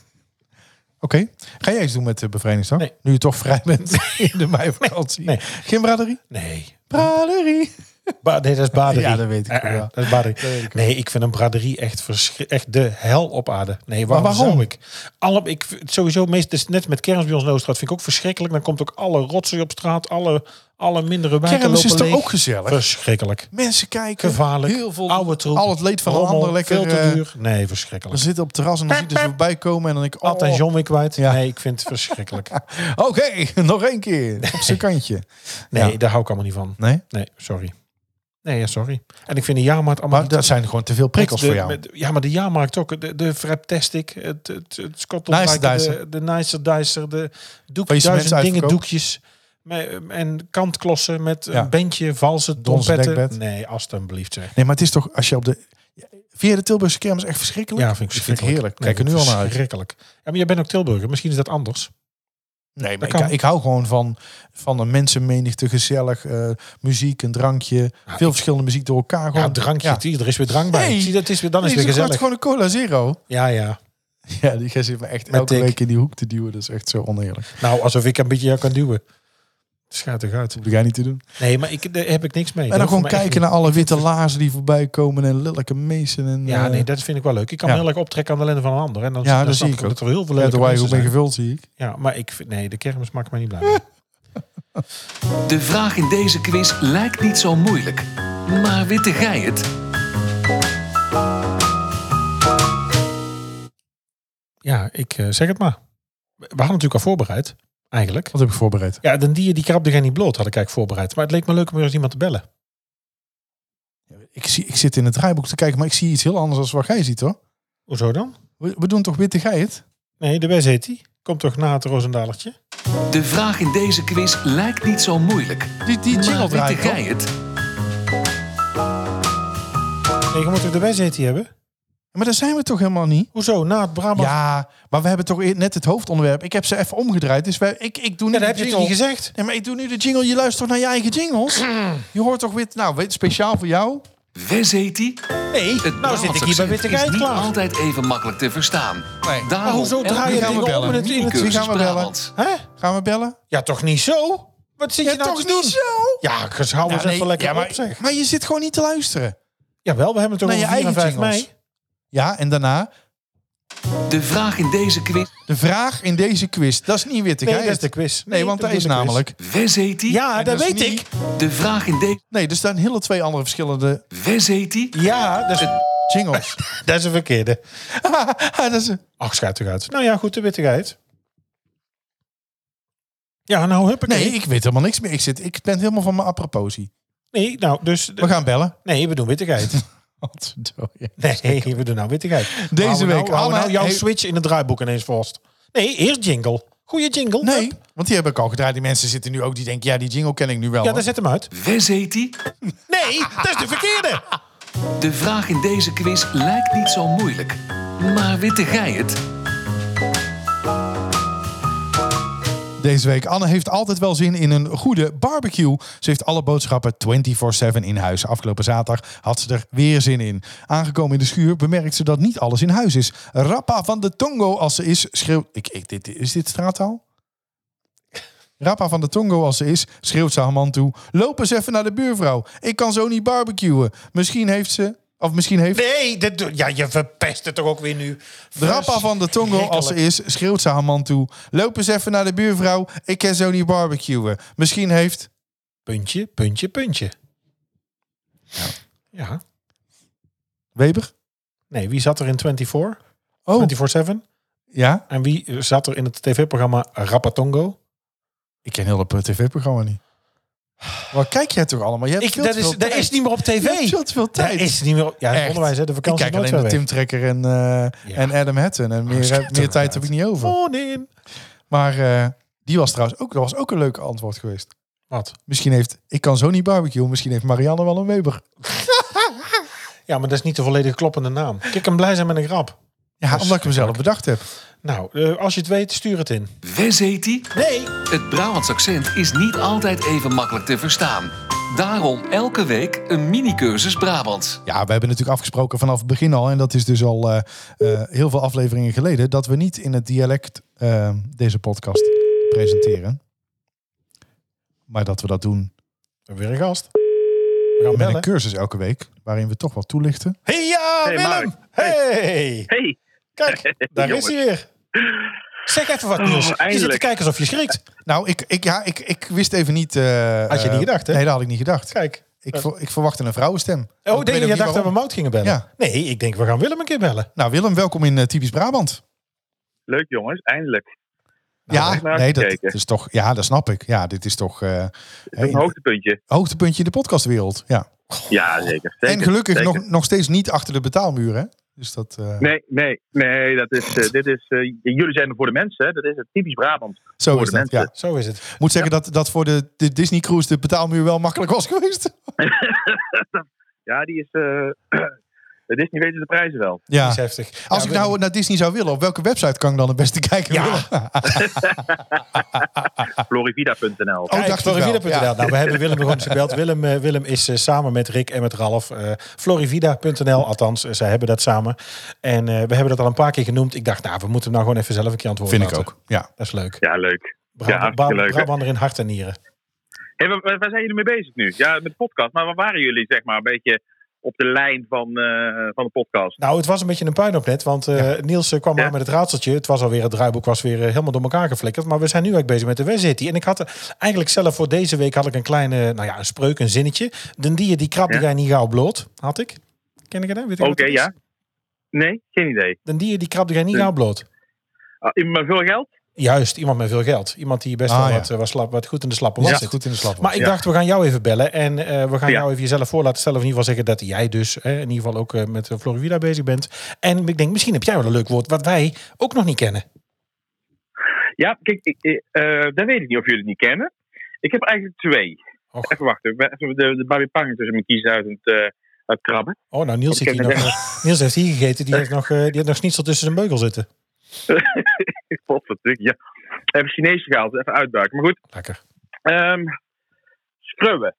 Oké. Ga jij iets doen met de bevrijdingsdag?
Nee.
Nu je toch vrij bent in de meivakantie.
Nee.
Geen braderie?
Nee.
Braderie.
Ba nee, dat is baderie.
Ja, dat weet ik
Eh, eh,
wel.
dat is baderie.
Dat weet ik
Nee, ik vind een braderie echt, verschri- echt de hel op aarde. Nee, waarom,
waarom?
zou ik? Alle, ik vind- sowieso, meest, dus net met kerst bij ons in Oostraat vind ik ook verschrikkelijk. Dan komt ook alle rotzooi op straat, alle, Alle mindere wijken
Kermis is
lopen
toch
leeg.
ook gezellig?
Verschrikkelijk.
Mensen kijken.
Gevaarlijk.
Heel veel
Oude troep.
Al het leed van een
Rommel,
ander lekker.
Veel te
eh,
duur. Nee,
we
verschrikkelijk.
zitten op het terras en dan zie je dus voorbij komen. En dan denk ik, oh,
Ad en John weer kwijt.
Ja.
Nee, ik vind het verschrikkelijk.
oké, nog één keer. Op zijn kantje.
Nee,
Ja.
daar hou ik allemaal niet van.
Nee?
Nee, sorry. Nee, ja, sorry. En ik vind de jaarmarkt allemaal...
Maar dat zijn gewoon te veel prikkels
de-
voor jou.
met- ja, maar de jaarmarkt ook. De, de Fraptastic, het, het, het Scotland
Nicer
Rijk,
Dicer.
de, de Nicer Dicer, de doek,
Waar je ze
duizend
mensen
dingen
uitverkoopt.
doekjes. Me- En kantklossen met
Ja.
een bandje, valse
Donzen
trompetten.
dekbed.
Nee, alstublieft zeg.
Nee, maar het is toch, als je op de... Via de Tilburgse kermis echt verschrikkelijk?
Ja, vind ik
vind het
verschrikkelijk.
heerlijk. Kijk er
Nee,
nu al naar uit.
Verschrikkelijk. Ja, maar jij bent ook Tilburger. Misschien is dat anders.
Nee, maar
Dat
ik,
kan.
ik hou gewoon van, van een mensenmenigte, gezellig, eh, muziek, een drankje. veel verschillende muziek door elkaar. Gewoon,
Ja, drankje.
Ja.
zie, Er is weer drank bij.
Nee.
Zie, dat is weer, dan is
Nee,
het weer
ze
gezellig.
gewoon een cola zero.
Ja, ja.
Ja, die gast zit me echt
Met
elke
dik.
week in die hoek te duwen. Dat is echt zo oneerlijk.
Nou, alsof ik een beetje jou kan duwen. Schaat er uit.
Dat doe jij niet te doen.
Nee, maar ik, daar heb ik niks mee.
En
Dat hoeft
dan gewoon
voor mij echt
kijken naar alle witte lazen die voorbij komen en lelijke meesen. En,
niet. Ja,
eh,
nee, dat vind ik wel leuk. Ik kan
Ja.
me heel erg optrekken aan de lenden van een ander. En dan,
Ja,
dan
dat
snap
zie ik ook.
Dat er heel veel
ja,
leuke
daar waar je
mensen
goed mee
zijn.
gevuld, zie ik.
Ja, maar ik vind, nee, de kermis maakt mij niet blij. mee.
De vraag in deze quiz lijkt niet zo moeilijk. Maar witte gij het?
Ja, ik eh, zeg het maar. We hadden natuurlijk al voorbereid, eigenlijk.
Wat heb ik voorbereid?
Ja, dan dier die krabde geen niet bloot, had ik eigenlijk voorbereid. Maar het leek me leuk om weer eens iemand te bellen.
Ik, zie, ik zit in het draaiboek te kijken, maar ik zie iets heel anders dan wat jij ziet, hoor.
Hoezo dan?
We, we doen toch witte geit?
Nee, de Wes heet die. Komt toch na het Roosendalertje?
De vraag in deze quiz lijkt niet zo moeilijk.
Die, die jingle
Maar witte
draait,
gij
toch?
het?
Nee, je moet toch de Wes heet die hebben?
Maar daar zijn we toch helemaal niet?
Hoezo? Na het Brabant...
Ja, maar we hebben toch eer- net het hoofdonderwerp. Ik heb ze even omgedraaid, dus wij, ik, ik doe nu
Ja, dat heb
de
je
jingle.
toch niet gezegd?
Nee, maar ik doe nu de jingle. Je luistert toch naar je eigen jingles? Je hoort toch wit... Nou, weet- speciaal voor jou.
Wes heet die?
Nee,
Het
nou zit ik hier
Brabants
bij Witte
accent is
Geit
niet
klaar.
altijd even makkelijk te verstaan.
Nee.
Daarom
Maar hoezo
elke
draai je
week
dingen
we
om
bellen.
in het, in het-
Wie
cursus
gaan we bellen?
Brabant.
Hè?
Gaan we bellen?
Ja, toch niet zo? Wat zit je nou
toch
te
niet
doen?
zo? Nou,
Ja, ges- hou eens
nee,
even lekker
ja, maar,
op, zeg.
maar je zit gewoon niet te luisteren.
Jawel, we hebben het
Naar
over
je
4 en
eigen
5
jingles.
mei.
Ja, en daarna...
De vraag in deze quiz...
De vraag in deze quiz, dat is niet
Nee,
wittigheid.
dat is de quiz.
Nee, want
dat
dat is
de quiz.
namelijk...
Wes heet die?
Ja, dat,
dat is
weet
niet-
ik.
De vraag in deze...
Nee, er staan hele twee andere verschillende
Wes heet die?
Ja, dat is,
jingles. Ah,
dat is een verkeerde.
dat is een-
Ach, schijt toch uit. Nou ja, goed, de witte geit. Ja, nou, huppakee.
Nee, ik weet helemaal niks meer. Ik, zit, ik ben helemaal van mijn aproposie.
Nee, nou, dus...
We gaan bellen.
Nee, we doen witte geit.
Wat
Nee, we doen nou witte geit.
Deze
Houden we
week,
Nou, houden we
Anna
nou jouw
heeft-
switch in het draaiboek ineens vast. Nee, eerst jingle. Goeie jingle.
Nee,
Hup.
want die heb ik al gedraaid. Die mensen zitten nu ook die denken, ja, die jingle ken ik nu wel.
Ja,
hoor.
dan zet hem uit.
Wes heet die?
Nee, dat is de verkeerde.
De vraag in deze quiz lijkt niet zo moeilijk. Maar witte gij het?
Deze week, Anne heeft altijd wel zin in een goede barbecue. Ze heeft alle boodschappen 24-7 in huis. Afgelopen zaterdag had ze er weer zin in. Aangekomen in de schuur bemerkt ze dat niet alles in huis is. Rappa van de Tongo als ze is, schreeuwt... Ik, ik, dit, is dit straattaal? Rappa van de Tongo als ze is, schreeuwt ze haar man toe. Loop eens even naar de buurvrouw. Ik kan zo niet barbecuen. Misschien heeft ze... Of misschien heeft...
Nee, dat doe- ja, je verpest het toch ook weer nu.
De Rappa van de Tongo als ze is, schreeuwt ze haar man toe. Loop eens even naar de buurvrouw. Ik kan zo niet barbecuen. Misschien heeft...
Puntje, puntje, puntje. Ja.
Weber?
Nee, wie zat er in 24?
Oh,
24-7?
ja?
En wie zat er in het tv-programma Rapatongo?
Ik ken heel
eh,
dat tv-programma niet. Wat kijk jij toch allemaal? Je hebt veel
dat
te
is,
veel
dat
tijd.
is niet meer op
Je hebt
tv.
veel te veel
Dat
tijd.
is niet meer op... Ja,
Echt.
onderwijs, hè, de
ik
vakantie
kijk
nooit
alleen
zo
naar
weg.
Tim Trekker en, eh, en Adam Hatton. En meer,
schiet
meer
eruit.
tijd heb ik niet
Oh.
over.
Morning.
Maar eh, die was trouwens ook, dat was ook een leuke antwoord geweest.
Wat?
Misschien heeft, ik kan zo niet barbecue, misschien heeft Marianne wel een Weber.
Ja, maar dat is niet de volledig kloppende naam. Kijk hem blij zijn met een grap.
Ja, omdat ik hem zelf bedacht heb.
Nou, eh, als je het weet, stuur het in.
Wes heet die?
Nee.
Het Brabants accent is niet altijd even makkelijk te verstaan. Daarom elke week een mini-cursus Brabants.
Ja, we hebben natuurlijk afgesproken vanaf het begin al, en dat is dus al eh, eh, heel veel afleveringen geleden, dat we niet in het dialect eh, deze podcast presenteren. Maar dat we dat doen
Weer een gast. We gaan
met een
bellen.
cursus elke week, waarin we toch wat toelichten.
Hey, ja,
Hey,
Willem.
Mark.
Hey.
Hey,
Kijk, daar is
Jongens.
hij weer. Zeg even wat, Niels. je zit te
eindelijk.
kijken alsof je schrikt.
Nou, ik, ik, ja, ik, ik wist even niet... eh,
Had je niet gedacht, hè?
Nee, dat had ik niet gedacht.
Kijk.
Ik, ver- ik verwachtte een vrouwenstem.
Oh,
Ik
denk
weet
je,
ook
je
niet
Oh, dacht dat we
waarom.
Mout gingen bellen?
Ja.
Nee, ik denk we gaan Willem een keer bellen.
Nou, Willem, welkom in eh, Typisch Brabant.
Leuk jongens, eindelijk.
Nou,
daar heb ik
ja,
naar
nee, dat,
uitgekeken.
dat is toch, ja, dat snap ik. Ja, dit is toch eh,
Het is
hè,
een hoogtepuntje.
hoogtepuntje in de podcastwereld. Ja.
Ja,
Oh,
zeker. zeker
en gelukkig
zeker.
nog, nog steeds niet achter de betaalmuur, hè? Dus dat, eh,
Nee, nee, nee. Dat is, eh, dit is, eh, jullie zijn er voor de mensen. Hè? Dat is het typisch Brabant.
zo
voor
is
de
dat, ja.
mensen.
Zo is het.
moet zeggen dat, dat voor de, de Disney Cruise de betaalmuur wel makkelijk was geweest.
Ja, die is. eh Disney weten de prijzen wel.
Ja.
Die is heftig.
Als
Ja,
ik nou naar Disney zou willen, op welke website kan ik dan het beste kijken?
Ja.
Willem?
Ah.
Florivida.nl.
Oh,
Kijk,
dacht ik wel.
Florivida.nl.
Ja.
Nou, we hebben Willem gewoon eens gebeld. Willem, eh, Willem is eh, samen met Rick en met Ralf eh, Florivida.nl. Althans, eh, zij hebben dat samen. En eh, we hebben dat al een paar keer genoemd. Ik dacht, nou, we moeten hem nou gewoon even zelf een keer antwoorden.
Vind ik
laten.
ook. Ja.
Dat is leuk.
Ja, leuk.
Brab
Ja, hartstikke
Brab-
leuk, hè?
Brabander in hart en nieren.
Hey, waar, waar zijn jullie mee bezig nu? Ja, met de podcast. Maar waar waren jullie, zeg maar, een beetje op de lijn van, eh, van de podcast?
Nou, het was een beetje een puinhoop net, want eh, Niels eh, kwam
Ja.
aan met het raadseltje. Het was alweer, het draaiboek was weer eh, helemaal door elkaar geflikkerd. Maar we zijn nu eigenlijk bezig met de West-City. En ik had er eigenlijk zelf voor deze week had ik een kleine, nou ja, een spreuk, een zinnetje. Den dier die krab die
Ja.
jij niet gauw bloot, had ik. Ken ik het, hè? Weet ik
Oké,
wat het is?
ja. Nee, geen idee.
Den dier die krab die jij niet
Ja.
gauw bloot.
Ah, maar veel geld?
Juist, iemand met veel geld. Iemand die best
Ah,
wel
ja.
wat, eh, wat, slap, wat goed in de slappe was
Was
zit.
goed in de slap.
Maar ik
Ja.
dacht, we gaan jou even bellen. En eh, we gaan
Ja.
jou even jezelf voor laten stellen. Of in ieder geval zeggen dat jij dus eh, in ieder geval ook eh, met eh, Florivida bezig bent. En ik denk, misschien heb jij wel een leuk woord wat wij ook nog niet kennen.
Ja, kijk, ik, ik- eh, dat weet ik niet of jullie het niet kennen. Ik heb eigenlijk twee.
Och.
Even wachten, we- even de, de Babipang tussen mijn kiezen uit het, eh, uit krabben.
Oh, nou, Niels,
Ik
zit hier nog,
heb
eh, Niels heeft hier gegeten. Die heeft nog, eh, die heeft nog schnitzel tussen zijn beugel zitten.
Potverdik, ja. Even Chinees gehaald, even uitbuiken. Maar goed,
Lekker.
ehm schreuwen.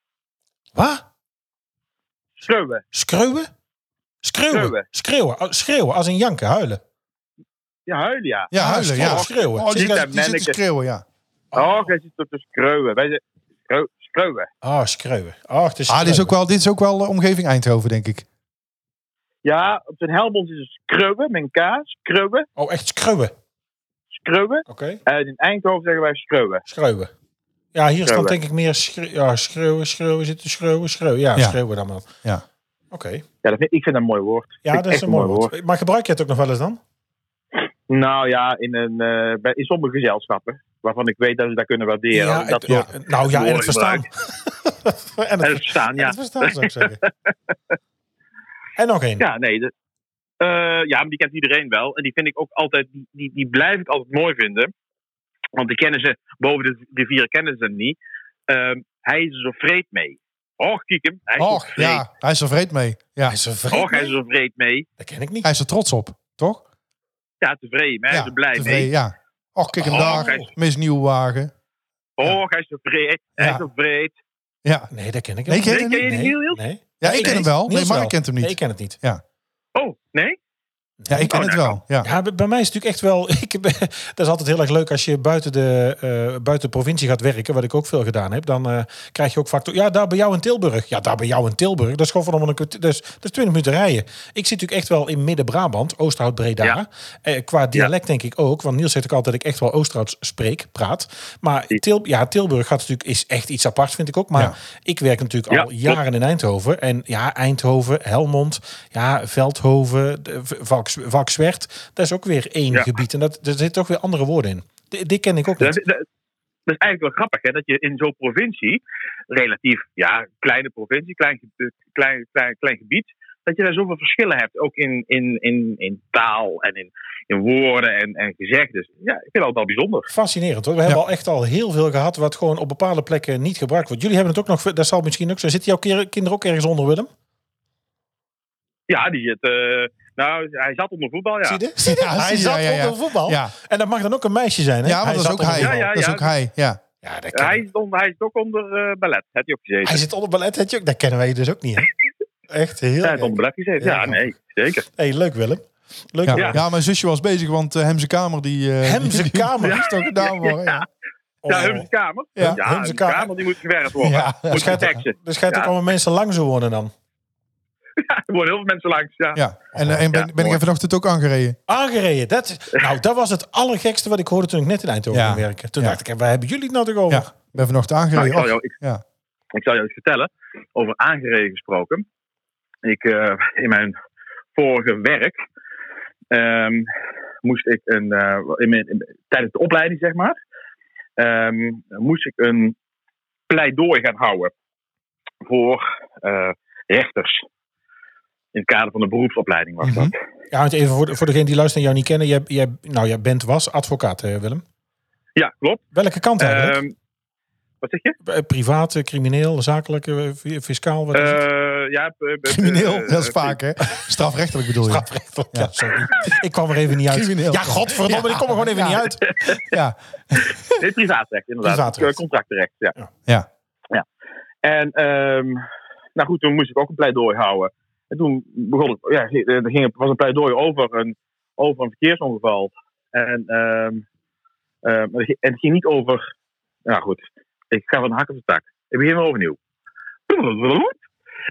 Wat?
Schreuwen.
Schreeuwen? Schreeuwen.
Schreeuwen.
Schreeuwen. Oh, Schreeuwen, als een janken, huilen.
Ja, huilen, ja.
Ja,
Ah,
huilen, ja.
schreeuwen, schreeuwen.
Oh, die,
Ziet
die,
dat
die zit te
manneke.
schreeuwen, ja.
Oh, jij zit op te schreuwen. Wij zijn schreu- schreuwen.
Ah, schreeuwen. Ah, het is
Ah, dit is
schreeuwen.
ook wel, dit is ook wel eh, omgeving Eindhoven, denk ik.
Ja, op zijn helmond is het schreuwen, met een K. Schreuwen,
Oh, echt schreeuwen. Oké.
schreuwen. En in Eindhoven zeggen wij schreuwen.
Schreeuwen. Ja, hier is dan
Schreeuwen.
denk ik meer schre- ja, schreeuwen, schreeuwen, zitten schreeuwen, schreeuwen. Ja,
Ja.
schreeuwen dan wel.
Ja.
Oké.
Ja, dat vind, ik vind dat een mooi woord.
Ja,
Vind ik
dat is
echt
een mooi woord. Maar gebruik je het ook nog wel eens dan?
Nou ja, in, een, eh, bij, in sommige gezelschappen, waarvan ik weet dat ze dat kunnen waarderen. dat
het- ja,
soort-
nou ja, en het
woorden
verstaan. en
En het
het,
verstaan,
en
ja.
het verstaan zou ik zeggen. en nog één.
Ja, nee. de- eh, ja, maar die kent iedereen wel. En die vind ik ook altijd, die, die, die blijf ik altijd mooi vinden. Want die kennen ze, boven de, de vier kennen ze hem niet. Ehm, hij is er zo vreed mee. Och, kijk hem. Hij is er
Och,
vreed.
ja. Hij is er vreed mee. Ja.
Hij is een
Och, hij is
vreemd.
er zo vreed mee.
Dat ken ik niet.
Hij is er trots op, toch?
Ja, tevreden. maar Hij
ja,
is er blij
tevreden,
mee.
Ja. Och, kijk hem
Oh,
daar.
kijk.
Mis nieuw wagen.
Och, hij is zo vreed. Hij is
Ja.
zo vreed.
Ja.
Nee, dat ken ik
Nee,
niet.
ken je
Nee,
hem
ken
niet?
je die heel, heel?
nee.
Ja, ik ken hem wel. Nee,
Niels
Mark
wel.
kent hem
Nee, ik
niet.
ken het niet.
Oh, nee?
Ja, ik ken
Oh,
het
nou,
wel. Ja.
Ja, bij- bij mij is het natuurlijk echt wel. Ik, ben- dat is altijd heel erg leuk als je buiten de, eh, buiten de provincie gaat werken, wat ik ook veel gedaan heb. Dan eh, krijg je ook vaak. to- Ja, daar bij jou in Tilburg. Ja, daar bij jou in Tilburg. Dat is gewoon van om een kwartier. Dat is, dat is 20 minuten rijden. Ik zit natuurlijk echt wel in Midden-Brabant, Oosterhout-Breda.
Ja.
Eh, qua dialect denk ik ook. Want Niels zegt ook altijd dat ik echt wel Oosterhouts spreek, praat. Maar Til, ja, Tilburg gaat natuurlijk, is echt iets aparts, vind ik ook. Maar
Ja.
ik werk natuurlijk
Ja,
al jaren in Eindhoven. En ja, Eindhoven, Helmond, ja, Veldhoven, de- V- Valks, Valkswert. Dat is ook weer één
Ja.
gebied. En dat, daar zitten ook weer andere woorden in. Di- dit ken ik ook
Dat,
niet.
dat, dat is eigenlijk wel grappig, hè? Dat je in zo'n provincie, relatief, ja, kleine provincie, klein, ge- klein, klein, klein gebied, dat je daar zoveel verschillen hebt. Ook in, in, in, in taal en in, in woorden en, en gezegdes. Ja, ik vind dat altijd wel bijzonder.
Fascinerend hoor. We hebben al echt al heel veel gehad wat gewoon op bepaalde plekken niet gebruikt wordt. Jullie hebben het ook nog, dat zal misschien ook zo. Zitten jouw kere- kinderen ook ergens onder, Willem?
Ja, die zit. eh, nou, hij zat onder voetbal, ja.
Zie je? Zie je?
Ja,
hij
zie je,
zat
ja, ja, ja.
onder voetbal.
Ja.
En dat mag dan ook een meisje zijn. Hè?
Ja, want dat is
zat
ook
onder
hij.
voetbal.
Ja, ja,
Dat is
ja.
ook hij. Ja.
Ja, dat ken
Hij
ik.
is, on- hij is ook onder eh, ballet, had hij ook gezeten.
Hij zit onder ballet, had je ook. Dat kennen wij dus ook niet. Hè? Echt heel
Ja, hij is
gek.
onder ballet gezeten. Ja,
Ja.
nee, zeker.
Hey, leuk Willem. Leuk.
Ja.
Willem.
ja, mijn zusje was bezig, want eh, hem zijn kamer die... eh,
Hem zijn
die-
kamer?
Die is toch gedaan worden. Ja.
Oh.
Ja, Humse Kamer.
Ja,
Ja,
Humse
Humse
Kamer.
Kamer, die moet gewerkt worden.
Ja,
moet
Oh, schijnt-
teksten.
Er schijnt ook
Ja.
allemaal mensen lang zo wonen dan.
Ja, er wonen heel veel mensen langs. Ja.
Ja. En, eh, en ben,
Ja,
ben ik er vanochtend ook aangereden.
Aangereden. Dat, is- nou, dat was het allergekste wat ik hoorde toen ik net in Eindhoven
Ja.
ging werken. Toen
Ja.
dacht ik, waar hebben jullie het nou toch over?
Ja. Ik ben vanochtend
Nou, ik,
aangereden. Oh,
zal
Och,
jou, ik,
ja.
ik zal jou iets vertellen over aangereden gesproken. Ik, eh, in mijn vorige werk ehm, moest ik een, eh, in mijn, in- tijdens de opleiding, zeg maar, ehm, moest ik een pleidooi gaan houden voor eh, rechters. In het kader van de beroepsopleiding was dat.
Mhm.
Ja, want even voor, de- voor degene die luistert en jou niet kennen. Jij, jij, nou, jij bent, was advocaat, hè, Willem.
Ja, klopt.
Welke kant eigenlijk?
Ehm, wat zeg je?
Eh, Privaat, eh, crimineel, zakelijk, eh, fi- fiscaal? Wat is het?
Eh, ja, eh, eh,
Crimineel,
eh,
dat is
eh,
vaak hè. Strafrechtelijk bedoel je.
Strafrechtelijk,
Ja.
ja, sorry. Ik kwam er even niet uit.
Crimineel.
Ja, godverdomme,
Ja.
ik kom er gewoon even
Ja.
niet uit.
Ja.
Nee, privaatrecht, inderdaad.
Privaatrecht.
Eh, Contractrecht, ja.
Ja.
Ja.
Ja. En, ehm, nou goed, toen moest ik ook een pleidooi houden. En toen begon ik, ja, er ging, was een pleidooi over een, over een verkeersongeval. En, ehm, ehm, maar het ging- en het ging niet over, nou goed, ik ga van de hak op de tak. Ik begin weer overnieuw.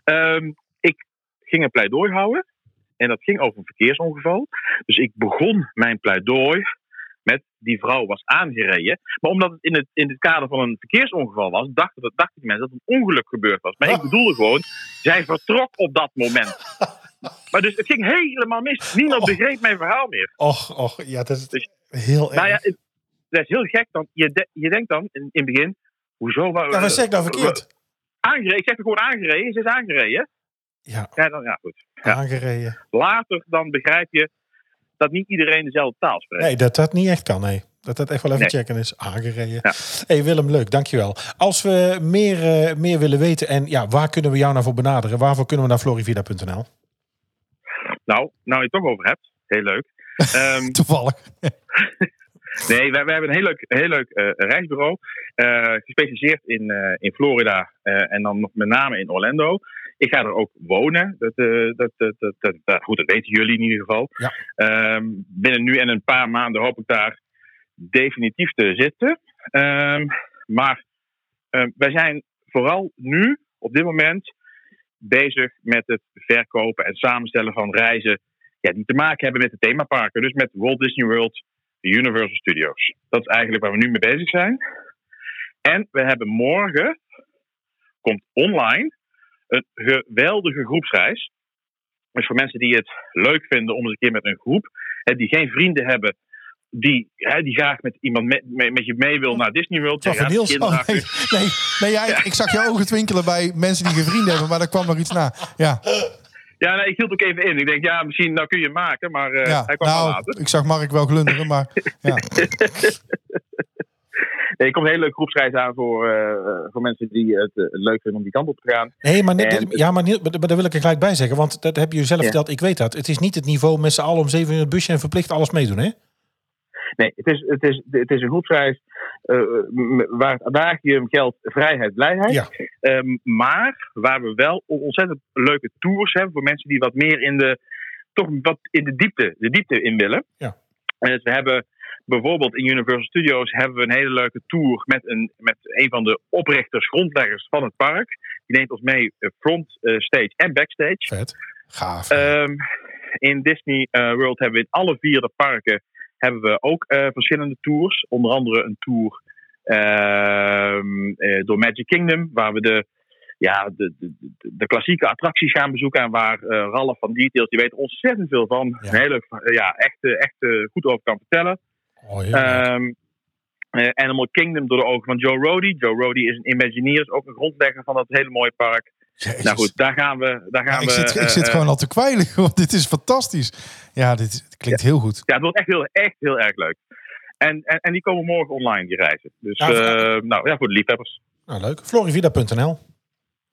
Ehm, ik ging een pleidooi houden. En dat ging over een verkeersongeval. Dus ik begon mijn pleidooi met die vrouw was aangereden. Maar omdat het in het, in het kader van een verkeersongeval was, dachten, dat- dachten die mensen dat een ongeluk gebeurd was.
Ah.
Maar ik bedoelde gewoon, zij vertrok op dat moment. Maar dus het ging helemaal mis. Niemand
Oh.
begreep mijn verhaal meer.
Och, och, ja, dat is
Dus-
heel erg.
Nou ja, het- dat is heel gek. Dan, je, de- je denkt dan in, in het begin, hoezo? Waar,
Ja, wat zeg ik nou verkeerd?
Aangereden, ik zeg er gewoon aangereden, ze is aangereden.
Ja,
Ja, dan, ja, goed. Ja.
aangereden.
Later dan begrijp je dat niet iedereen dezelfde taal spreekt.
Nee, dat dat niet echt kan, nee. Dat dat echt wel even
Nee.
checken is. Aangereden.
Ja.
hey, Willem, leuk, dankjewel. Als we meer, eh, meer willen weten en ja, waar kunnen we jou nou voor benaderen? Waarvoor kunnen we naar florivida.nl?
Nou, nou je het toch over hebt, heel leuk. Ehm,
Toevallig.
Nee, wij, wij hebben een heel leuk, heel leuk eh, reisbureau. eh, gespecialiseerd in, eh, in Florida eh, en dan nog met name in Orlando. Ik ga er ook wonen. Dat, eh, dat, dat, dat, dat- dat- goed, dat weten jullie in ieder geval.
Ja.
Ehm, binnen nu en een paar maanden hoop ik daar definitief te zitten. Ehm, maar ehm, wij zijn vooral nu, op dit moment, bezig met het verkopen en samenstellen van reizen ja, die te maken hebben met de themaparken. Dus met Walt Disney World, de Universal Studios. Dat is eigenlijk waar we nu mee bezig zijn. En we hebben morgen, komt online, een geweldige groepsreis. Dus voor mensen die het leuk vinden om eens een keer met een groep, hè, die geen vrienden hebben, die, hè, die graag met iemand mee- mee- met je mee wil naar Disney World.
Ja,
Ja,
van Niels.
kinderachtig.
Oh, nee, nee, nee ja, ik, ik zag jouw ogen twinkelen bij mensen die geen vrienden hebben, maar daar kwam nog iets na. Ja,
Ja, nee, ik hield ook even in. Ik denk, ja, misschien nou kun je hem maken, maar eh,
ja.
hij kwam wel
nou,
later.
ik zag Mark wel glunderen, maar ja.
Nee, er komt een hele leuke groepsreis aan voor, eh, voor mensen die het eh, leuk vinden om die kant op te gaan.
Nee, maar, net-
En-
ja, maar, Niel- maar daar wil ik er gelijk bij zeggen. Want dat heb je zelf verteld. Ik weet dat. Het is niet het niveau met z'n allen om zeven uur in het busje en verplicht alles meedoen, hè?
Nee, het is, het is, het is een groepsreis eh, m- waar het adagium geldt vrijheid, blijheid.
Ja.
Ehm, maar waar we wel ontzettend leuke tours hebben voor mensen die wat meer in de, toch wat in de, diepte, de diepte in willen.
Ja.
En dus we hebben bijvoorbeeld in Universal Studios hebben we een hele leuke tour met een, met een van de oprichters, grondleggers van het park. Die neemt ons mee eh, front eh, stage en backstage.
Vet.
Gaaf.
Ehm, in Disney eh, World hebben we in alle vier de parken hebben we ook eh, verschillende tours. Onder andere een tour ehm, eh, door Magic Kingdom, waar we de, ja, de, de, de- de klassieke attracties gaan bezoeken. En waar eh, Ralf van Details, die weet er ontzettend veel van.
Ja.
Een hele, ja, echt, eh, echt eh, goed over kan vertellen.
Oh, heel leuk.
Ehm, eh, Animal Kingdom door de ogen van Joe Rody. Joe Rody is een Imagineer, is ook een grondlegger van dat hele mooie park.
Jezus.
Nou goed, daar gaan we. Daar gaan
Ja, ik
we
zit, ik
eh,
zit
eh,
gewoon al te kwijlen, want dit is fantastisch. Ja, dit is- het klinkt heel goed.
Ja, het wordt echt heel, echt heel erg leuk. En, en, en die komen morgen online, die reizen. Dus
Ja,
eh, nou ja, voor de liefhebbers.
Nou, leuk. Florivida.nl.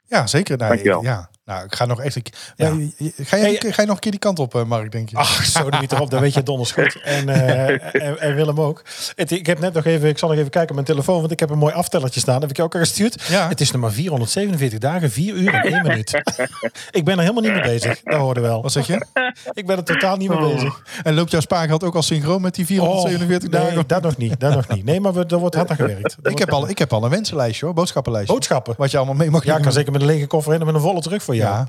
Ja, zeker. Nou,
Dankjewel.
Ja. Nou, ik ga nog echt... Ik,
Ja.
ja, eh, je- je- ga, je,
Hey, Ah,
ga je nog een keer die kant op, eh, Mark, denk je?
Ach, zo doe je het erop. Dan weet je het donders goed. En, eh, en, en Willem ook. Het, ik heb net nog even... Ik zal nog even kijken op mijn telefoon, want ik heb een mooi aftellertje staan. Heb ik je ook al gestuurd?
Ja.
Het is nog maar 447 dagen, 4 uur en 1 minuut. ik ben er helemaal niet mee bezig. Dat hoorde wel.
Wat zeg je?
Ik ben er totaal niet mee bezig.
Oh. En loopt jouw spaargeld ook al synchroon met die 447
Oh, nee,
dagen?
dat nog niet. Dat nog niet. Nee, maar we, er wordt hard aan gewerkt. Er
Ik heb, al, ik heb al een wensenlijstje hoor, boodschappenlijstje.
Boodschappen.
Wat je allemaal mee mag
Ja, ik kan
nemen.
zeker met een lege koffer in en met een volle terug voor jou.
Ja.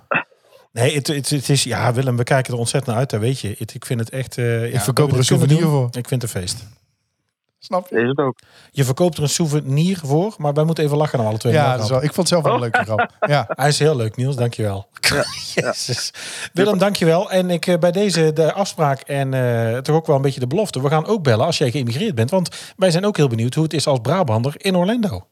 Nee, het, het, het is... Ja, Willem, we kijken er ontzettend naar uit. Dat weet je. Het- ik vind het echt... eh, ja,
Ik verkoop er
dat we
een
dit kunnen
souvenir
doen,
voor.
Ik vind het een feest.
Snap je?
Is het ook.
Je verkoopt er een souvenir voor, maar wij moeten even lachen naar alle twee.
Ja,
Welke
dat is
grap.
wel- ik vond het zelf wel een leuke grap. Ja,
Hij is heel leuk, Niels. Dankjewel. Jezus. Willem, dankjewel. En ik eh, bij deze de afspraak en eh, toch ook wel een beetje de belofte. We gaan ook bellen als jij geëmigreerd bent. Want wij zijn ook heel benieuwd hoe het is als Brabander in Orlando.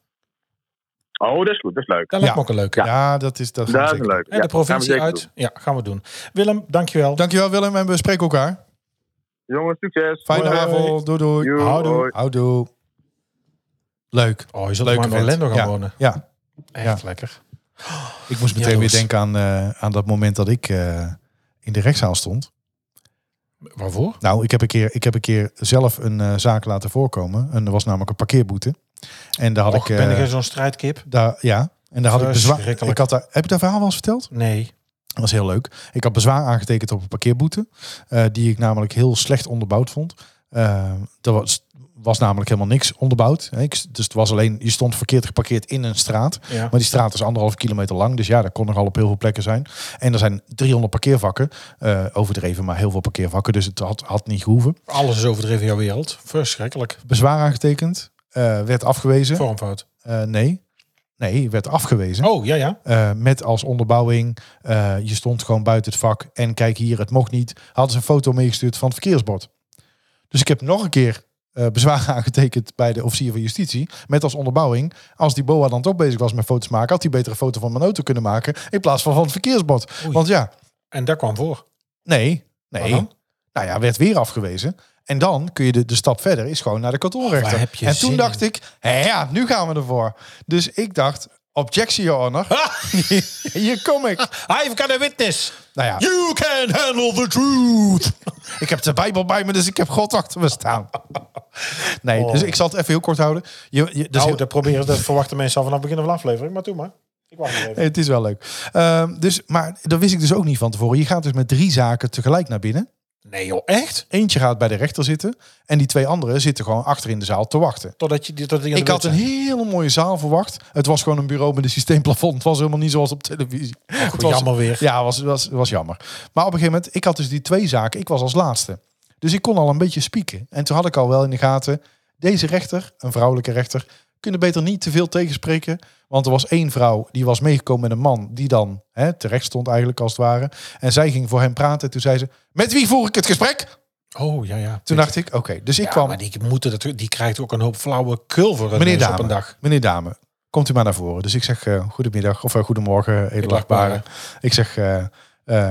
Oh, dat is goed, dat is leuk.
Dat lijkt
Ja.
me ook een leuke.
ja. dat is... Dat gaan we
dat is
zeker
een leuk.
Hè, de provincie uit. Ja, gaan we doen. Willem, dankjewel.
doen. Dankjewel Willem en we spreken elkaar.
Jongens, succes.
Fijne
Hoi.
avond. Doei doei.
Joe,
Houdoe.
hoi.
Houdoe. Leuk.
Oh, je zult
Leuke
maar in
vent.
Orlando gaan
Ja.
wonen.
Ja,
Echt lekker.
ik moest meteen weer
Jaloers.
denken aan, eh, aan dat moment dat ik eh, in de rechtszaal stond.
Waarvoor?
Nou, ik heb een keer, ik heb een keer zelf een eh, zaak laten voorkomen. En er was namelijk een parkeerboete. En daar had
Och,
ik.
ben
eh,
ik zo'n strijdkip?
daar, ja. En daar had ik bezwaar.
Verschrikkelijk.
Ik had daar, heb ik dat verhaal wel eens verteld?
Nee.
Dat was heel leuk. Ik had bezwaar aangetekend op een parkeerboete. eh, die ik namelijk heel slecht onderbouwd vond. Eh er was, was namelijk helemaal niks onderbouwd. hè. Ik, dus het was alleen, je stond verkeerd geparkeerd in een straat.
Ja.
Maar die straat is anderhalf kilometer lang. Dus ja, dat kon nogal op heel veel plekken zijn. En er zijn 300 parkeervakken. eh, overdreven, maar heel veel parkeervakken. Dus het had, had niet gehoeven.
Alles is overdreven in jouw wereld. Verschrikkelijk.
bezwaar aangetekend. eh, werd afgewezen.
Vormfout.
Eh, nee. Nee, werd afgewezen.
Oh, ja, ja.
Eh, met als onderbouwing, eh, je stond gewoon buiten het vak. En kijk hier, het mocht niet. Hadden ze een foto meegestuurd van het verkeersbord. Dus ik heb nog een keer eh, bezwaar aangetekend bij de officier van justitie. Met als onderbouwing, als die BOA dan toch bezig was met foto's maken... had hij beter een foto van mijn auto kunnen maken in plaats van van het verkeersbord.
Oei.
Want ja,
En daar kwam voor.
nee, nee.
Wat dan?
Nou ja, werd weer afgewezen. En dan kun je de, de stap verder, is gewoon naar de kantonrechter.
Waar heb je
en toen
zin
dacht ik, hé ja, nu gaan we ervoor. Dus ik dacht, objection, your honor. Hier kom ik.
I've got a witness.
Nou ja,
You can handle the truth.
ik heb de Bijbel bij me, dus ik heb God achter me staan. Nee, dus ik zal het even heel kort houden. Je, je, dus
Oh. Nou,
heel-
dat proberen, dat verwachten mensen al vanaf het begin van de aflevering. Maar doe maar. Ik wacht nog even.
het is wel leuk. Ehm, dus, maar dat wist ik dus ook niet van tevoren. Je gaat dus met drie zaken tegelijk naar binnen.
Nee joh, echt?
Eentje gaat bij de rechter zitten. En die twee anderen zitten gewoon achter in de zaal te wachten.
Totdat je, totdat je
Ik had een hele mooie zaal verwacht. Het was gewoon een bureau met een systeemplafond. Het was helemaal niet zoals op televisie. Het was-
Oh, jammer weer.
Ja, was, was, was jammer. Maar op een gegeven moment, ik had dus die twee zaken. Ik was als laatste. Dus ik kon al een beetje spieken. En toen had ik al wel in de gaten. Deze rechter, een vrouwelijke rechter, kunnen beter niet te veel tegenspreken. Want er was één vrouw die was meegekomen met een man die dan hè, terecht stond eigenlijk als het ware. En zij ging voor hem praten. Toen zei ze, met wie voer ik het gesprek?
Oh, ja, ja.
Toen dacht ik, oké. Dus ik
Ja,
kwam...
maar die, moeten dat, die krijgt ook een hoop flauwe kul voor het
Meneer
neus
Dame,
op een dag.
meneer Dame, komt u maar naar voren. Dus ik zeg eh, goedemiddag of eh, goedemorgen, edelachtbare.
Edelachtbare.
Ik zeg, eh, eh,